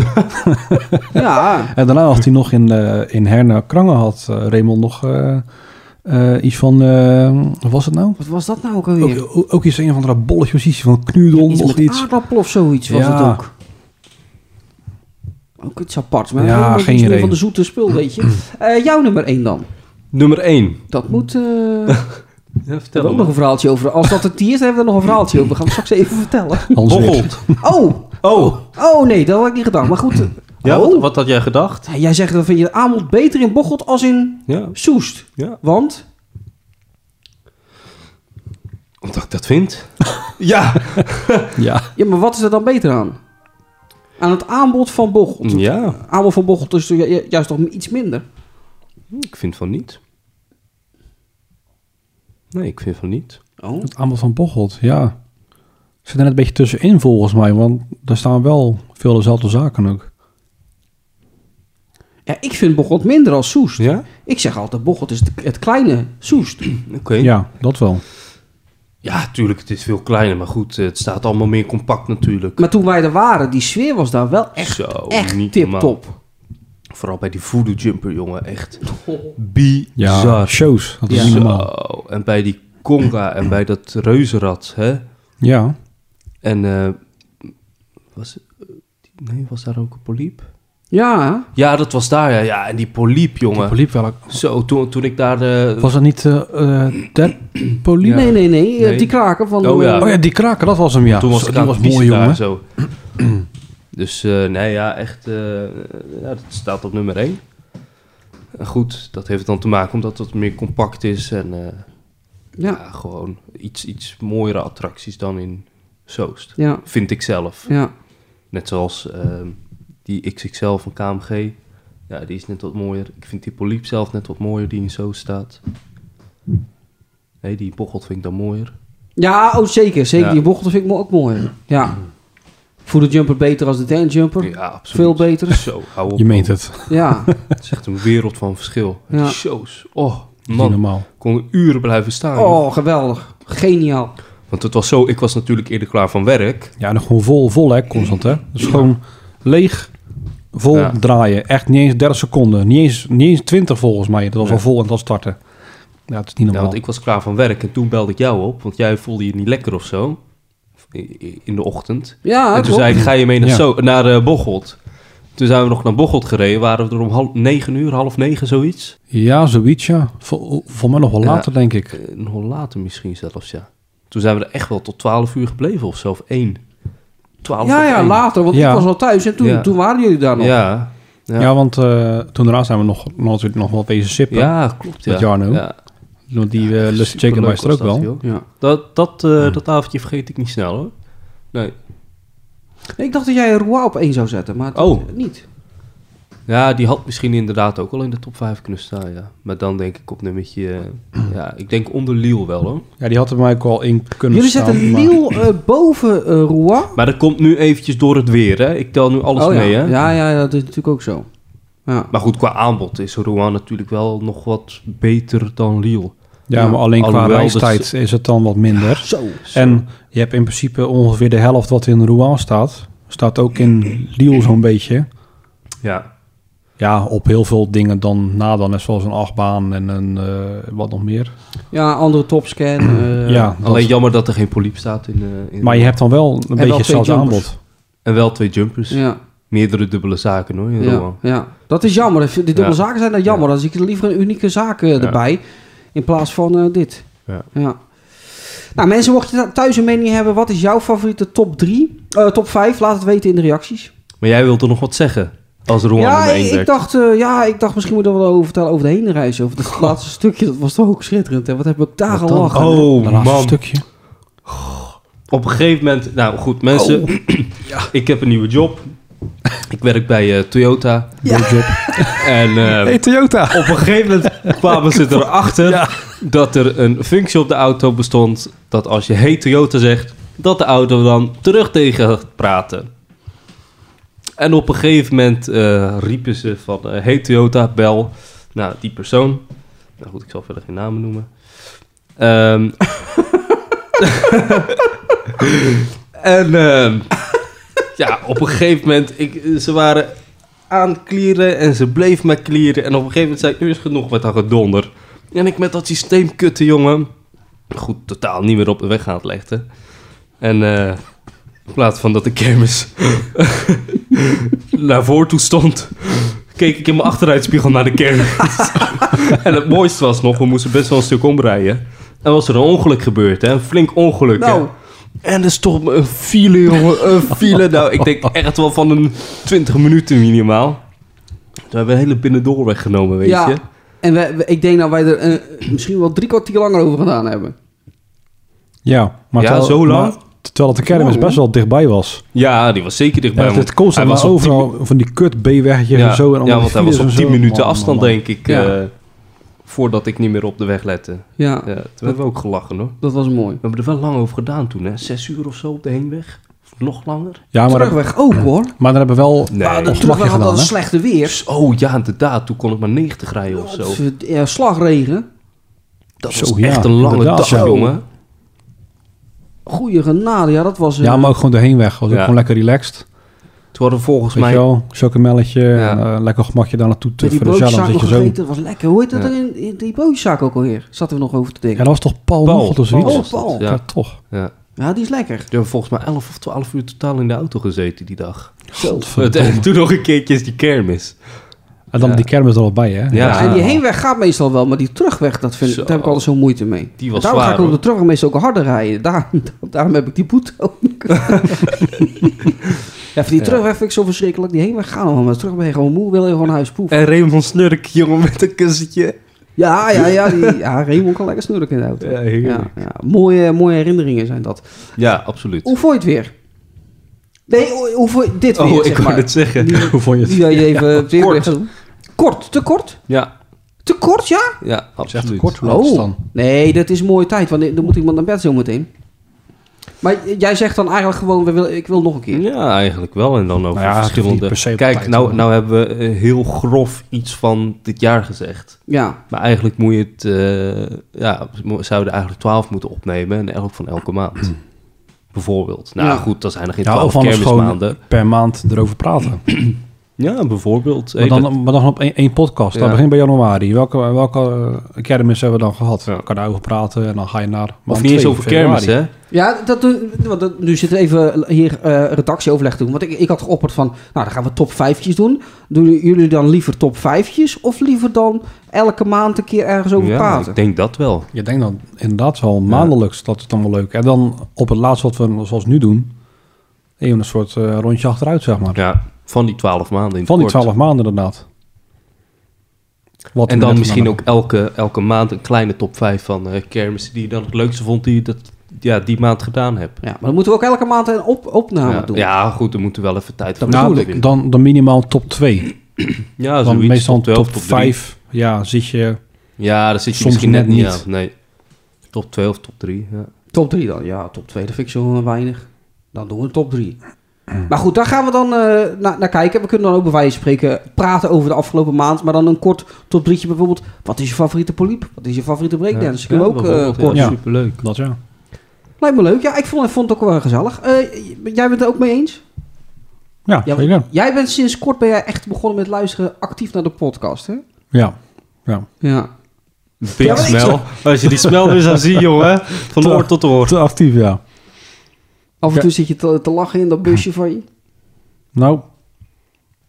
D: Ja,
C: En daarna had hij nog in, eh in Herne Krangen had eh, Raymond nog eh, eh, iets van, eh, wat was het nou?
D: wat was dat nou ook alweer?
C: Ook, ook, ook iets een van de bolletje was iets van knudel
D: iets
C: of
D: met
C: iets.
D: aardappel of zoiets was
C: Ja.
D: het ook. Ook iets aparts, maar
C: Ja, geen
D: helemaal iets meer
C: idee.
D: van de zoete spul, weet je.
C: [CLEARS THROAT]
D: Eh, jouw nummer 1 dan.
E: Nummer 1.
D: Dat
C: [LAUGHS]
D: moet... eh,
E: Ja,
D: we hebben ook nog een verhaaltje over. Als dat het die is, dan hebben we er nog een verhaaltje over. We gaan we straks even
C: [LAUGHS]
D: vertellen.
C: Hans Wirt.
E: Bocholt.
D: Oh,
E: Oh,
D: oh nee, dat had ik niet gedacht. Maar goed. eh,
E: ja,
D: oh.
E: wat, wat had jij gedacht?
D: Ja, Jij zegt, dan vind je de aanbod beter in Bocholt als in
E: Ja,
D: Soest.
E: ja.
D: Want?
E: Omdat ik dat vind. ja.
C: [LAUGHS] Ja,
D: Ja, maar wat is er dan beter aan? Aan het aanbod van Bocholt.
E: Ja,
D: Aanbod van Bocholt is ju- ju- juist nog iets minder.
E: ik vind van niet. Nee, ik vind van niet.
D: Oh.
C: het aanbod van Bocholt, ja. Zit er net een beetje tussenin volgens mij, want daar staan wel veel dezelfde zaken ook.
D: Ja, ik vind Bocholt minder als Soest.
E: Ja?
D: Ik zeg altijd, Bocholt is het- het kleine Soest. [CLEARS THROAT]
E: Oké.
C: Ja, dat wel.
E: Ja, tuurlijk, het is veel kleiner, maar goed, eh, het staat allemaal meer compact natuurlijk.
D: Maar toen wij er waren, die sfeer was daar wel echt,
E: Zo,
D: echt
E: niet
D: tip-top.
E: Vooral bij die voodoo jumper, jongen, echt bizar.
C: Ja, shows, dat is
D: Ja.
C: niet normaal.
E: Zo, en bij die conga en bij dat reuzenrad, hè.
C: Ja,
E: En, eh, was het- eh, nee, was daar ook een poliep?
D: Ja,
E: Ja, dat was daar, ja. ja en die poliep,
C: die
E: jongen.
C: poliep wel.
E: Zo, toen, toen ik daar... eh,
C: Was dat niet eh eh, Terpoliep?
D: nee, nee, nee, eh,
E: Nee.
D: Die kraken van...
E: Oh, ja.
D: eh,
C: Oh ja, die kraken, dat was hem, ja.
E: toen was
C: Zo,
E: ik
C: die
E: aan
C: was
E: het
C: mooi,
E: kiezen
C: jongen.
E: daar zo. [CLEARS THROAT] dus eh, nee, ja, echt. eh, ja, dat staat op nummer 1. Goed, dat heeft dan te maken omdat het meer compact is en eh, ja.
D: ja.
E: gewoon iets, iets mooiere attracties dan in Soest.
D: Ja,
E: Vind ik zelf.
D: ja,
E: Net zoals eh, die XXL van KMG. Ja, die is net wat mooier. Ik vind die Poliep zelf net wat mooier die in Soest staat. Nee, die in Bocholt vind ik dan mooier.
D: ja. oh zeker, zeker.
E: Ja.
D: Die Bocholt vind ik me ook mooi. Ja. Voor de jumper beter als de Dan jumper.
E: Ja, absoluut.
D: Veel
E: Oh, [LAUGHS]
D: beter.
E: Zo, hou op.
C: Je meent het,
D: Ja,
E: Het is echt een wereld van verschil.
D: Ja.
E: Die shows. Oh,
C: dat is niet
E: man.
C: normaal.
E: Ik kon uren blijven staan. joh.
D: oh, geweldig. Geniaal.
E: Want het was zo, ik was natuurlijk eerder klaar van werk.
C: Ja, nog gewoon vol, vol hè, constant hè. Dus gewoon leeg, vol
E: Ja.
C: draaien. Echt niet eens 30 seconden. Niet eens, niet eens 20 volgens mij. Dat was
E: Ja.
C: al vol en dan starten. Ja, het is niet
E: Ja,
C: normaal.
E: want ik was klaar van werk en toen belde ik jou op. Want jij voelde je niet lekker of zo. I- i- In de ochtend.
D: Ah, Ja,
E: en toen
D: klopt.
E: zei ik, ga je mee naar,
C: Ja.
E: zo, naar eh, Bocholt? Toen zijn we nog naar Bocholt gereden. Waren we er om half, negen uur, half negen, zoiets.
C: Ja, zoiets ja. Vol, voor mij nog wel
E: Ja.
C: later, denk ik.
E: Eh, nog later misschien zelfs, ja. Toen zijn we er echt wel tot twaalf uur gebleven of zo, of één. 12
D: ja, ja, later, want
C: Ja.
D: ik was al thuis en toen,
E: Ja.
D: toen waren jullie daar nog.
E: Ja, ja.
C: Ja, want eh, toen daarna zijn we nog, nog, natuurlijk nog wel wezen sippen.
E: ja, klopt. Ja.
C: Met Jarno.
E: Ja.
C: Want die eh Lusty Chicken
E: Superleuk
C: was er ook
E: was
C: wel.
E: dat, joh.
D: Ja.
E: Dat, dat, eh, dat avondje vergeet ik niet snel hoor. Nee.
D: Nee, ik dacht dat jij Roa op één zou zetten, maar dat-
E: Oh.
D: niet.
E: Ja, die had misschien inderdaad ook al in de top 5 kunnen staan, ja. Maar dan denk ik op nummertje... eh, [CLEARS THROAT] ja, ik denk onder Liel wel hoor.
C: Ja, die had er mij ook al in kunnen
D: Jullie
C: staan.
D: zetten
C: maar-
D: Liel eh, boven eh Roa.
E: Maar dat komt nu eventjes door het weer hè. Ik tel nu alles
D: Oh, ja.
E: mee hè.
D: ja, ja, dat is natuurlijk ook zo. Ja.
E: Maar goed, qua aanbod is Rouen natuurlijk wel nog wat beter dan Liel.
C: Ja,
D: Ja.
C: maar alleen qua
E: Alhoewel, dat-
C: reistijd is het dan wat minder.
D: Zo.
E: Oh,
C: En je hebt in principe ongeveer de helft wat in Rouen staat. Staat ook in Liel zo'n beetje.
E: Ja.
C: Ja, op heel veel dingen dan na dan. net Zoals een achtbaan en een eh, wat nog meer.
D: Ja, andere topscan. eh,
C: ja, dat-
E: Alleen jammer dat er geen poliep staat in, eh, in
C: maar je
E: Rouen.
C: hebt dan wel een beetje
D: wel twee
C: hetzelfde
D: jumpers.
C: aanbod.
E: En wel twee jumpers.
D: Ja,
E: Meerdere dubbele zaken hoor in
D: ja,
E: Rouen.
D: ja. Dat is jammer. Die dubbele
E: Ja.
D: zaken zijn dat jammer. Dan zie ik liever een unieke zaak eh, erbij. In plaats van eh, dit.
E: Ja.
D: Nou mensen, mocht je da- thuis een mening hebben. Wat is jouw favoriete top 3? top 5? Laat het weten in de reacties.
E: Maar jij wilt er nog wat zeggen als Rouen
D: ja,
E: nummer
D: ik,
E: 1
D: ik
E: werd.
D: dacht, eh, ja, ik dacht misschien moeten we er wel over vertellen over de heenreis. Over dat laatste stukje. Dat was toch ook schitterend. Hè? Wat heb ik daar
E: Wat dan?
D: gelachen.
C: Dat
E: Oh
C: laatste
E: man,
C: stukje.
E: op een gegeven moment, nou goed mensen,
D: Oh.
E: [CLEARS THROAT] ik heb een nieuwe job. Ik werk bij eh, Toyota.
D: [LAUGHS]
E: En eh,
C: Toyota.
E: op een gegeven moment kwamen ze erachter dat er een functie op de auto bestond dat als je hey Toyota zegt, dat de auto dan terug tegen gaat praten. En op een gegeven moment eh, riepen ze van eh, hey Toyota, bel. Nou, die persoon. Nou goed, ik zal verder geen namen noemen. Ehm, en ehm, [LAUGHS] ja, op een gegeven moment, ik, ze waren aan klieren en ze bleef maar klieren. En op een gegeven moment zei ik, nu is genoeg met haar gedonder. En ik met dat systeem kutte, jongen. Goed, totaal niet meer op de weg aan het leggen. En eh, in plaats van dat de kermis [LAUGHS] naar voren toe stond, keek ik in mijn achteruitspiegel naar de kermis. [LAUGHS] en het mooiste was nog, we moesten best wel een stuk omrijden. En was er een ongeluk gebeurd, hè? Een flink ongeluk, hè?
D: Nou.
E: En er stond me een file, jongen.
D: [LAUGHS]
E: Een file. Nou, ik denk echt wel van een 20 minuten minimaal. Toen hebben we een hele binnendoorweg genomen, weet
D: ja.
E: je.
D: En wij- wij- ik denk dat wij er eh, misschien wel drie kwartier langer over gedaan hebben.
C: Ja, maar
E: Ja,
C: terwijl-
E: zo lang?
C: maar terwijl het de kermis best wel dichtbij was.
E: Ja, die was zeker dichtbij.
C: Ja,
E: want
C: het komt
E: hij
C: maar
E: was op tien
C: overal van die kut B-wegjes
E: Ja,
C: en zo. En
E: ja
C: allemaal
E: want hij
C: files
E: was op
C: en
E: 10
C: zo.
E: minuten
C: Man, man,
E: afstand,
C: man.
E: denk ik.
D: Ja.
E: eh, voordat ik niet meer op de weg lette.
D: Ja,
E: Ja, toen hebben we ook gelachen, hoor.
D: dat was mooi.
E: We hebben er wel lang over gedaan toen, hè. Zes uur of zo op de heenweg. Of nog langer.
C: Ja, maar, dat-
D: Terugweg ook hoor.
C: maar daar hebben we wel
E: Nee.
C: een
D: Terug
C: slagje
D: hadden
C: gedaan,
D: dat
C: hè?
D: slechte weer.
E: Dus, oh ja, inderdaad. Toen kon ik maar 90 rijden of zo.
D: Ja, slagregen.
E: Dat
C: Zo,
E: was
C: ja,
E: echt een lange
C: inderdaad,
E: dag,
C: ja.
E: jongen.
D: Goeie genade. Ja, dat was... eh,
C: Ja, maar ook gewoon de heenweg. Was ook
E: Ja.
C: gewoon lekker relaxed.
E: Toen hadden we volgens
C: Weet
E: mij...
C: je wel, chocomelletje,
E: Ja.
C: en, eh, lekker gemakje daar naartoe te
D: met die
C: voor de zelf. Zit
D: broodjeszaak nog
C: je zo.
D: gegeten. Dat was lekker. Hoe heet dat
E: Ja.
D: er in, in die broodjeszaak ook alweer? Zaten we nog over te
C: Ja, dat
D: denken.
C: was toch Paul,
E: Paul.
C: Nocht of zoiets?
D: Oh, Paul.
C: Ja.
E: Ja.
C: toch.
E: Ja.
D: Ja, die is lekker.
E: We hebben volgens mij 11 of 12 uur totaal in de auto gezeten die dag.
C: Godverdomme.
E: [LAUGHS] En toen nog een keertje is die kermis.
C: En dan
E: Ja.
C: die kermis er al bij, hè?
E: Ja.
D: en die heenweg gaat meestal wel, maar die terugweg, dat vind, ik-
E: Ah. Zo.
D: daar heb ik altijd zo moeite mee.
E: Die was
D: daarom
E: zwaar,
D: ga ik op de
E: hoor.
D: terugweg meestal ook harder rijden. [LAUGHS] Daar, daarom heb ik die boete
E: [LAUGHS]
D: ook. ja, voor die terugweg vind ik zo verschrikkelijk. Die heenweg gaan we maar terug ben je gewoon moe, wil je gewoon naar huis poeven.
E: En Raymond Snurk, jongen, met een kussentje.
D: Ja, ja, ja.
E: [LAUGHS]
D: Die, ja, Raymond kan lekker snurken in de auto.
E: Ja, heerlijk.
D: Ja, ja. Mooie, mooie herinneringen zijn dat.
E: Ja, absoluut.
D: Hoe vond je het weer? Nee, hoe, hoe vond je dit weer,
E: oh,
D: zeg
E: ik wou
D: maar.
E: het zeggen. [LAUGHS]
C: [LAUGHS] Hoe vond je het?
D: Die wil je even weer
E: kort.
D: weer gaan doen. Kort, te kort?
E: Ja,
D: Te kort, ja?
E: ja,
C: Echt
E: absoluut. Oh.
C: kort, hoe laat is het dan?
D: Oh. Nee, dat is mooie tijd, want dan moet iemand naar bed zo meteen. Maar jij zegt dan eigenlijk gewoon, we willen, ik wil nog een keer.
E: Ja, eigenlijk wel. En dan over
C: Nou ja, het hoeft niet per se
E: verschillende...
C: op
E: Kijk,
C: tijd,
E: nou,
C: hoor.
E: nou hebben we eh, heel grof iets van dit jaar gezegd.
D: Ja,
E: Maar eigenlijk moet je het... eh, ja, we zouden eigenlijk 12 moeten opnemen. En elk van elke maand. Bijvoorbeeld. Nou
D: Ja.
E: goed, dan zijn er geen
C: Hmm. Ja,
E: 12
C: of anders
E: kermismaanden.
C: gewoon per maand erover
E: [CLEARS THROAT]
C: praten.
E: Ja, bijvoorbeeld.
C: Maar
E: Eh,
C: dan,
E: dat-
C: maar dan op één, één podcast. Dan
E: Ja.
C: begin bij januari. Welke, welke eh, kermis hebben we dan gehad?
E: Ja.
C: Ik Kan daarover praten en dan ga je naar...
E: of
C: maand
E: niet eens
C: twee,
E: over
C: februari.
E: kermis, hè?
D: ja dat, doen- want dat- nu zitten we even hier eh redactieoverleg te doen. Want ik, ik had geopperd van, nou dan gaan we top vijfjes doen. Doen jullie dan liever top vijfjes of liever dan elke maand een keer ergens over
E: ja,
D: praten?
E: ik denk dat wel.
C: Je denkt dan inderdaad wel maandelijks, dat is dan wel leuk. En dan op het laatst wat we zoals nu doen, Even een soort eh, rondje achteruit, zeg maar.
E: Ja, van die twaalf maanden in
C: Van die
E: het kort.
C: twaalf maanden inderdaad. Wat
E: En
C: we
E: dan
C: net
E: misschien
C: hadden.
E: ook elke, elke maand een kleine top 5 van eh kermissen die je dan het leukste vond die je dat, ja, die maand gedaan hebt.
D: Ja, maar dan moeten we ook elke maand een op opname
E: ja,
D: doen.
E: ja, goed, dan moeten we wel even tijd voor
C: Nou,
E: maken weer.
C: dan, dan minimaal top 2.
E: ja,
C: Dan
E: zoiets,
C: meestal
E: wel,
C: top
E: drie.
C: 5. Ja, zit je...
E: Ja, daar zit je
C: Soms
E: misschien net
C: net
E: niet
C: niet.
E: aan. Nee. Top 2 of top 3. Ja.
D: Top 3 dan. Ja, top 2, dat vind ik zo eh, weinig. Dan doen we top 3. Maar goed, daar gaan we dan eh, na- naar kijken. We kunnen dan ook bij wijze van spreken praten over de afgelopen maand. Maar dan een kort top 3 bijvoorbeeld. Wat is je favoriete poliep? Wat is je favoriete breakdance?
E: Ja,
D: kunnen we ook eh,
E: bijvoorbeeld,
D: kort.
C: ja.
E: superleuk.
C: Dat ja.
D: Lijkt me leuk. Ja, ik vond, ik vond het ook wel gezellig. Eh, j- jij bent het er ook mee eens?
C: Ja,
D: Ja,
C: zeker.
D: Jij bent sinds kort ben jij echt begonnen met luisteren actief naar de podcast, hè?
C: Ja. ja.
D: Ja.
E: Big
D: maar ik-
E: smell. Als je die smell weer zou zien, jongen. Van oor tot oor.
C: Te actief, ja.
D: Af en
C: Ja.
D: toe zit je te, te lachen in dat busje van je.
C: Nou,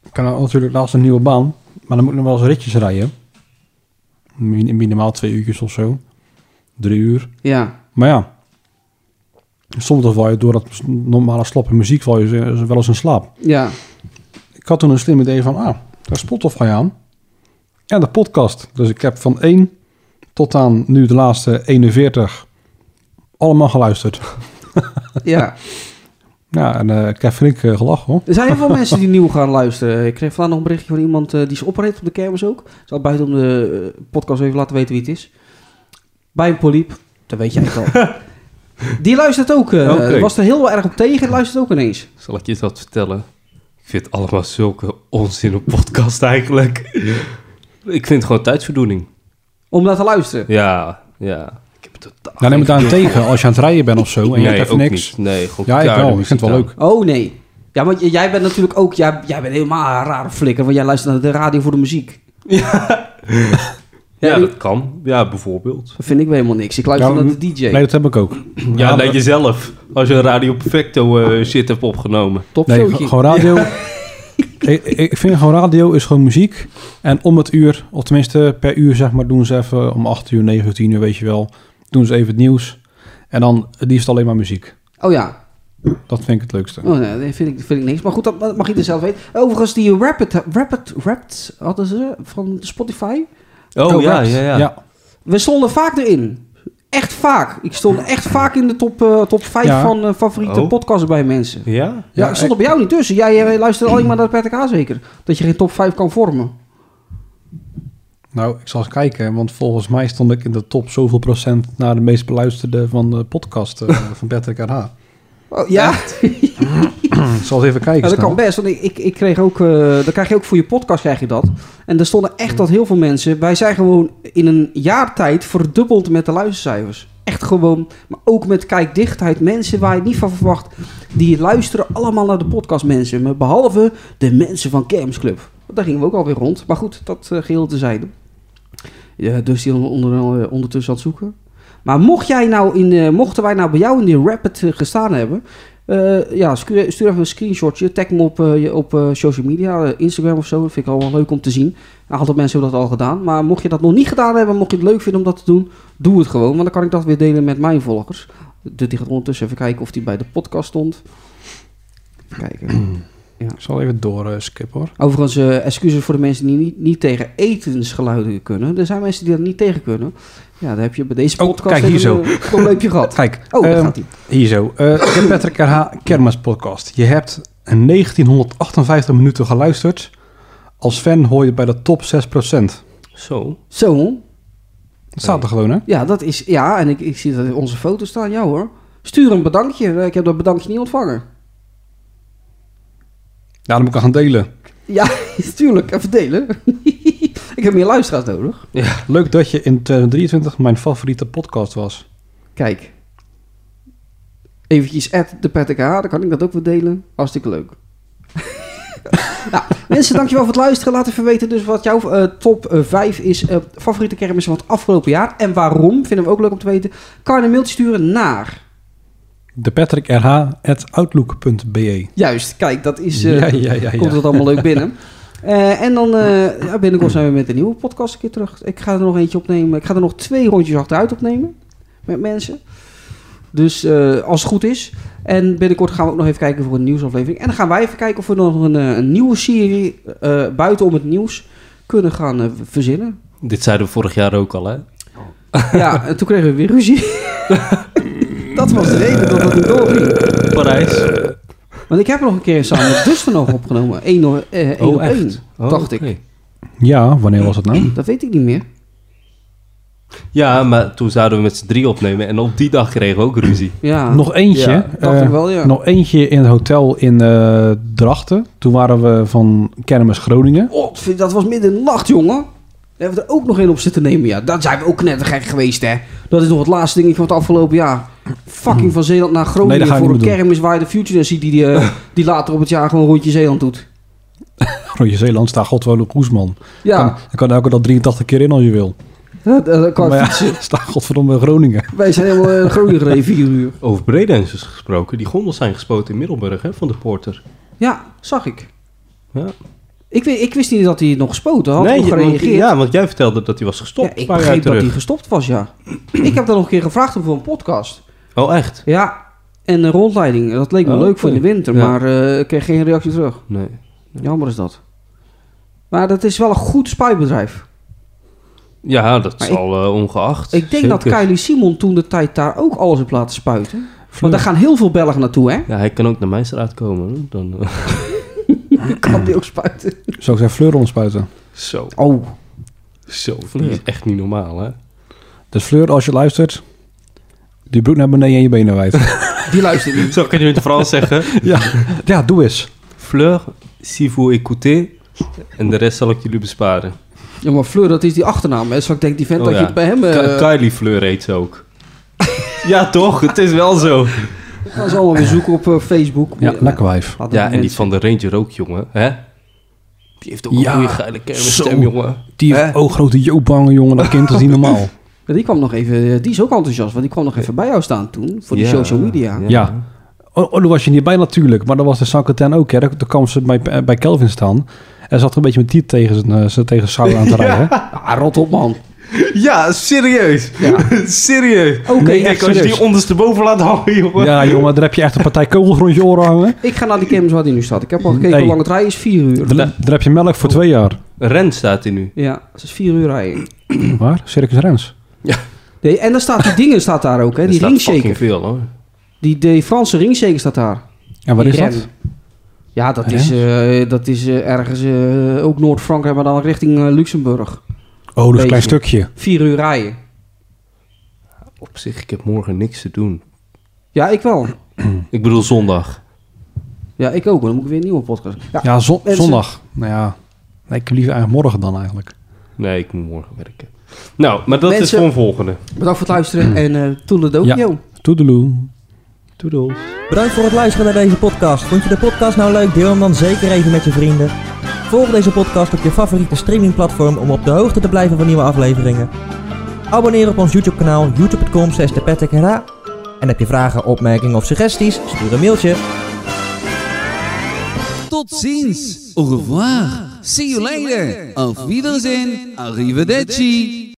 C: ik kan natuurlijk laatst een nieuwe baan. Maar dan moet ik nog wel eens ritjes rijden. Min- minimaal twee uurtjes of zo. Drie uur.
D: Ja.
C: Maar ja, soms dan val je door dat normale slappe muziek val je z- wel eens in slaap.
D: Ja.
C: Ik had toen een slim idee van, ah, daar Spotify ga je aan. En de podcast. Dus ik heb van 1 tot aan nu de laatste 41 allemaal geluisterd.
D: Ja.
C: Ja, en eh, ik heb flink eh, gelachen hoor.
D: Er zijn heel veel mensen die nieuw gaan luisteren. Ik kreeg vandaag nog een berichtje van iemand eh, die is opgereed op de kermis ook. Ik zal buiten om de eh, podcast even laten weten wie het is. Bij een poliep. Dat weet jij wel.
C: [LAUGHS]
D: die luistert ook. eh,
E: Oké.
D: Was er heel erg op tegen. Luistert ook ineens.
E: Zal ik je dat vertellen? Ik vind het allemaal zulke onzin op podcast eigenlijk. Ik vind het gewoon tijdsverdoening.
D: Om naar te luisteren.
E: Ja, ja. Ik heb het totaal...
C: Nou, neem het
E: geen
C: aan
E: geduld.
C: tegen als je aan het rijden bent of zo. En je
E: Nee,
C: Oh, hebt even
E: ook
C: niks.
E: niet. Nee, gewoon
C: Ja, ik
E: keiharde
C: wel. Ik vind het wel
E: muziek
C: leuk.
D: Oh nee. Ja, want j- jij bent natuurlijk ook. Jij, jij bent helemaal een rare flikker. Want jij luistert naar de radio voor de muziek.
E: aan.
D: Ja,
E: Ja,
D: die-
E: dat kan. Ja, bijvoorbeeld.
D: Dat vind ik weer helemaal niks. Ik luister
C: Ja,
D: naar de DJ.
C: Nee, dat heb ik ook.
E: Ja, nee, jezelf. Als je een Radio Perfecto eh, shit hebt opgenomen.
D: Top
C: Nee,
D: showtje.
C: ge- gewoon radio. [LAUGHS] ik, ik vind gewoon radio is gewoon muziek. En om het uur, of tenminste per uur zeg maar, doen ze even om 8 uur, 9 uur, 10 uur, weet je wel. Doen ze even het nieuws. En dan het liefst alleen maar muziek.
D: Oh ja.
C: Dat vind ik het leukste.
D: Oh, nee, dat vind ik, dat vind ik niks. Maar goed, dat dat mag ieder zelf weten. Overigens, die Rapid, Rapid, Rapid hadden ze van Spotify.
E: Oh,
C: Oh,
E: ja,
C: raps.
E: ja, ja,
C: Ja,
D: We stonden vaak erin. Echt vaak. Ik stond echt vaak in de top, eh, top 5
C: Ja.
D: van eh, favoriete
E: Oh.
D: podcasts bij mensen.
E: Ja?
D: Ja,
C: Ja,
D: ik stond op jou niet tussen. Jij eh, luisterde alleen maar naar Patrick H. zeker. Dat je geen top 5 kan vormen.
C: nou, ik zal eens kijken. Want volgens mij stond ik in de top zoveel procent naar de meest beluisterde van de podcast
D: [LAUGHS]
C: eh, van Patrick RH.
D: Oh, ja,
C: Ik zal eens even kijken.
D: Ja, Nou, dat kan
C: snel.
D: best. Want ik, ik, ik kreeg ook, eh dan krijg je ook voor je podcast krijg je dat. En er stonden echt dat heel veel mensen. Wij zijn gewoon in een jaar tijd verdubbeld met de luistercijfers. Echt gewoon, maar ook met kijkdichtheid. Mensen waar je het niet van verwacht, die luisteren allemaal naar de podcast mensen. Maar behalve de mensen van Games Club. Daar gingen we ook alweer rond. Maar goed, dat eh, geheel tezijde. Ja, dus die onder, eh, ondertussen aan het zoeken. Maar mocht jij nou in, eh, mochten wij nou bij jou in die Rapid eh, gestaan hebben... eh, ja, stuur, stuur even een screenshotje. Tag me op, eh, je- op eh, social media, eh, Instagram of zo. Dat vind ik al wel leuk om te zien. Een aantal mensen hebben dat al gedaan. Maar mocht je dat nog niet gedaan hebben, mocht je het leuk vinden om dat te doen... doe het gewoon, want dan kan ik dat weer delen met mijn volgers. Dus die gaat ondertussen even kijken of die bij de podcast stond.
C: [CLEARS THROAT]
D: Even kijken.
C: Ik zal even door eh, skippen hoor.
D: Overigens, eh, excuses voor de mensen die niet, niet tegen etensgeluiden kunnen. Er zijn mensen die dat niet tegen kunnen. Ja, daar heb je bij deze
C: Oh,
D: podcast
C: kijk, hier
D: even een eh, probleempje
C: [LAUGHS]
D: gehad.
C: Kijk,
D: Oh, daar
C: ehm,
D: gaat hij.
C: Hier zo. Eh, de Patrick RH Kermis Podcast. Je hebt 1958 minuten geluisterd. Als fan hoor je bij de top 6%.
E: Zo.
D: Zo,
C: Dat staat er gewoon, hè?
D: ja, dat is... Ja, en ik, ik zie dat in onze foto staan. Ja hoor. Stuur een bedankje. Ik heb dat bedankje niet ontvangen. [LAUGHS]
C: Ja, dan moet ik gaan delen.
D: Ja, [LAUGHS] tuurlijk. Even delen. [LAUGHS] ik heb meer luisteraars nodig.
C: Leuk dat je in 2023 mijn favoriete podcast was.
D: Kijk. Eventjes at de Patrick H, dan kan ik dat ook weer delen. Hartstikke leuk. [LAUGHS] nou, mensen, dankjewel voor het luisteren. Laat even weten dus wat jouw eh, top eh, 5 is. eh, favoriete kermis van het afgelopen jaar. En waarom, vinden we ook leuk om te weten. Kan je een mailtje sturen naar...
C: De Patrick RH at outlook.be.
D: Juist, kijk, dat is... eh,
C: Ja, ja, ja, ja.
D: Komt het allemaal leuk
C: [LAUGHS]
D: binnen. Eh, en dan eh, ja, binnenkort zijn we met een nieuwe podcast een keer terug. Ik ga er nog eentje opnemen. Ik ga er nog twee rondjes achteruit opnemen. Met mensen. Dus eh, als het goed is. En binnenkort gaan we ook nog even kijken voor een nieuwsaflevering. En dan gaan wij even kijken of we nog een, eh, een nieuwe serie eh, buitenom het nieuws kunnen gaan eh, verzinnen.
C: [LAUGHS]
E: Dit zeiden we vorig jaar ook al, hè?
D: Ja, en toen kregen we weer ruzie. [LAUGHS] dat was de reden dat het niet doorging.
C: Eh,
E: Parijs.
D: Want ik heb nog een keer samen
C: [LAUGHS]
D: met Dustin nog opgenomen. 1 op 1,
E: Oh, echt? Oh,
D: dacht ik.
E: oké.
C: Ja, wanneer was het nou?
D: Dat weet ik niet meer.
E: Ja, maar toen zouden we met z'n drie opnemen en op die dag kregen we ook ruzie.
D: Ja,
C: Nog eentje.
D: Ja, dacht
C: eh,
D: ik wel, ja.
C: Nog eentje in het hotel in eh, Drachten. Toen waren we van Kermis Groningen.
D: Oh, vind- dat was midden in de nacht, jongen. Daar hebben we er ook nog in op zitten nemen, ja. Dat zijn we ook net gek geweest, hè. Dat is nog het laatste dingetje van het afgelopen jaar. Fucking van Zeeland naar Groningen
C: Nee, dat ga ik
D: voor een
C: niet meer
D: kermis waar je de future ziet die, die,
C: [LAUGHS]
D: eh, die later op het jaar gewoon rondje Zeeland doet.
C: Rondje Zeeland staat Godwole Koesman. Kan,
D: Ja,
C: je kan elke dag 83 keer in als je wil.
D: dat, dat kan ik
C: Maar
D: [LAUGHS]
C: ja, [LAUGHS]
D: fietsen.
C: staat Godverdomme Groningen.
D: Wij zijn helemaal
C: [LAUGHS]
D: in Groningen gereden, vier uur.
E: Over breedensers gesproken, die gondels zijn gespoten in Middelburg, hè, van de porter.
D: Ja, zag ik.
E: Ja.
D: Ik, weet- ik wist niet dat hij nog gespoten had, nog
E: je- want-
D: gereageerd.
E: ja, want jij vertelde dat hij was
D: Ja,
E: gestopt.
D: ik
E: een paar jaar
D: begreep dat
E: terug.
D: hij gestopt was,
E: [CLEARS THROAT]
D: ja. ik heb daar nog een keer gevraagd om voor een podcast.
E: Oh, echt?
D: Ja, en een rondleiding. Dat leek me
E: Oh,
D: leuk voor in de
E: oké.
D: winter,
E: Ja.
D: maar eh, ik kreeg geen reactie terug.
E: Nee.
D: Jammer is dat. Maar dat is wel een goed spuitbedrijf.
E: Ja, dat
D: Maar
E: zal eh, ongeacht.
D: Ik denk dat
E: zeker.
D: Kylie Simon toen de tijd daar ook alles heeft laten spuiten. Want daar gaan heel veel Belgen naartoe,
E: [CLEARS THROAT]
D: hè?
E: Ja, hij kan ook naar mijn straat komen. hoor. Dan, eh, [LAUGHS]
D: Kan die ook spuiten?
C: Zou ik zijn Fleur ontspuiten?
E: Zo,
D: Oh,
E: zo. Die is echt niet normaal, hè?
C: Dus Fleur, als je luistert, die broek naar beneden en je benen wijd.
D: die luistert niet.
E: Zo kun je in het Frans
D: [LAUGHS]
E: zeggen.
C: ja. ja, doe eens.
E: Fleur, si vous écoutez. En de rest zal ik jullie besparen.
D: Ja, maar Fleur, dat is die achternaam. Hè? Zo ik denk die vent
E: Oh,
D: dat je
E: ja.
D: het bij hem...
E: Ka-
D: eh
E: Kylie Fleur heet ze ook. ja, toch? Het is wel zo.
D: gaan ze allemaal weer zoeken op eh, Facebook.
C: Ja, lekker wijf.
D: Laat dat
E: Ja, en die
D: mensen-
E: van de Ranger ook, jongen. Hè? Die heeft ook
C: Ja,
E: een goede Oh, geile
C: zo.
E: kermisstem, jongen.
C: Die
E: Hè?
C: heeft oh, grote joopbangen, jongen. Dat kind is niet normaal.
D: Ja, die kwam nog even... eh, Die is ook enthousiast, want die kwam nog even bij jou staan toen. Voor die
E: Ja.
D: social media.
E: Ja.
C: Ja. Oh, oh, daar was je niet bij natuurlijk. Maar dan was de Sankaten ook. Hè. Daar daar kwam ze bij, eh, bij Kelvin staan. En zat er een beetje met die tegen zijn, eh, zijn tegen Sauer aan te rijden.
D: Ah, rot op, man.
E: Ja, serieus. serieus.
C: Oké,
E: Nee,
C: echt
E: kijk, als je
C: serieus.
E: die ondersteboven laat hangen, jongen.
C: Ja, jongen, daar heb je echt een partij kogels rond je oren hangen.
D: Ik ga naar die kermis waar die nu staat. Ik heb al gekeken
C: Nee.
D: hoe lang het rijden is. Vier uur.
C: Daar, daar heb je melk voor twee jaar.
E: Ren staat hij nu.
D: Ja, het is vier uur rijden.
C: Waar? Circus Rens.
D: Nee, en dan staat die dingen staat daar ook, hè?
E: Er
D: Die
E: staat
D: ringshaker.
E: fucking veel, hoor.
D: Die, die Franse ringshaker staat daar.
C: En waar
D: Die
C: is
D: rem.
C: dat? Ah,
D: Ja, dat
C: Ja.
D: is, eh, dat is eh, ergens eh, ook Noord-Frankrijk, maar dan richting eh, Luxemburg.
C: Oh, dat is
D: Beetje.
C: een klein stukje.
D: Vier uur rijden.
E: Op zich, ik heb morgen niks te doen.
D: Ja, ik wel.
E: Ik bedoel zondag.
D: Ja, ik ook. Dan moet ik weer een nieuwe podcast. Ja,
C: Ja, zon-
D: mensen-
C: zondag. Nou ja, nee, ik heb liever eigenlijk morgen dan eigenlijk.
E: Nee, ik moet morgen werken. Nou, maar dat is
D: Mensen-
E: voor een volgende.
D: Bedankt voor het luisteren en eh toedeledokie.
C: Ja.
D: joh.
C: Toedeloe.
E: Toedels.
B: Bedankt voor het luisteren naar deze podcast. Vond je de podcast nou leuk? Deel hem dan zeker even met je vrienden. Volg deze podcast op je favoriete streamingplatform om op de hoogte te blijven van nieuwe afleveringen. Abonneer op ons YouTube kanaal youtube.com slash En heb je vragen, opmerkingen of suggesties? Stuur een mailtje.
F: Tot ziens. Au revoir. See you later. Auf Wiedersehen. Arrivederci.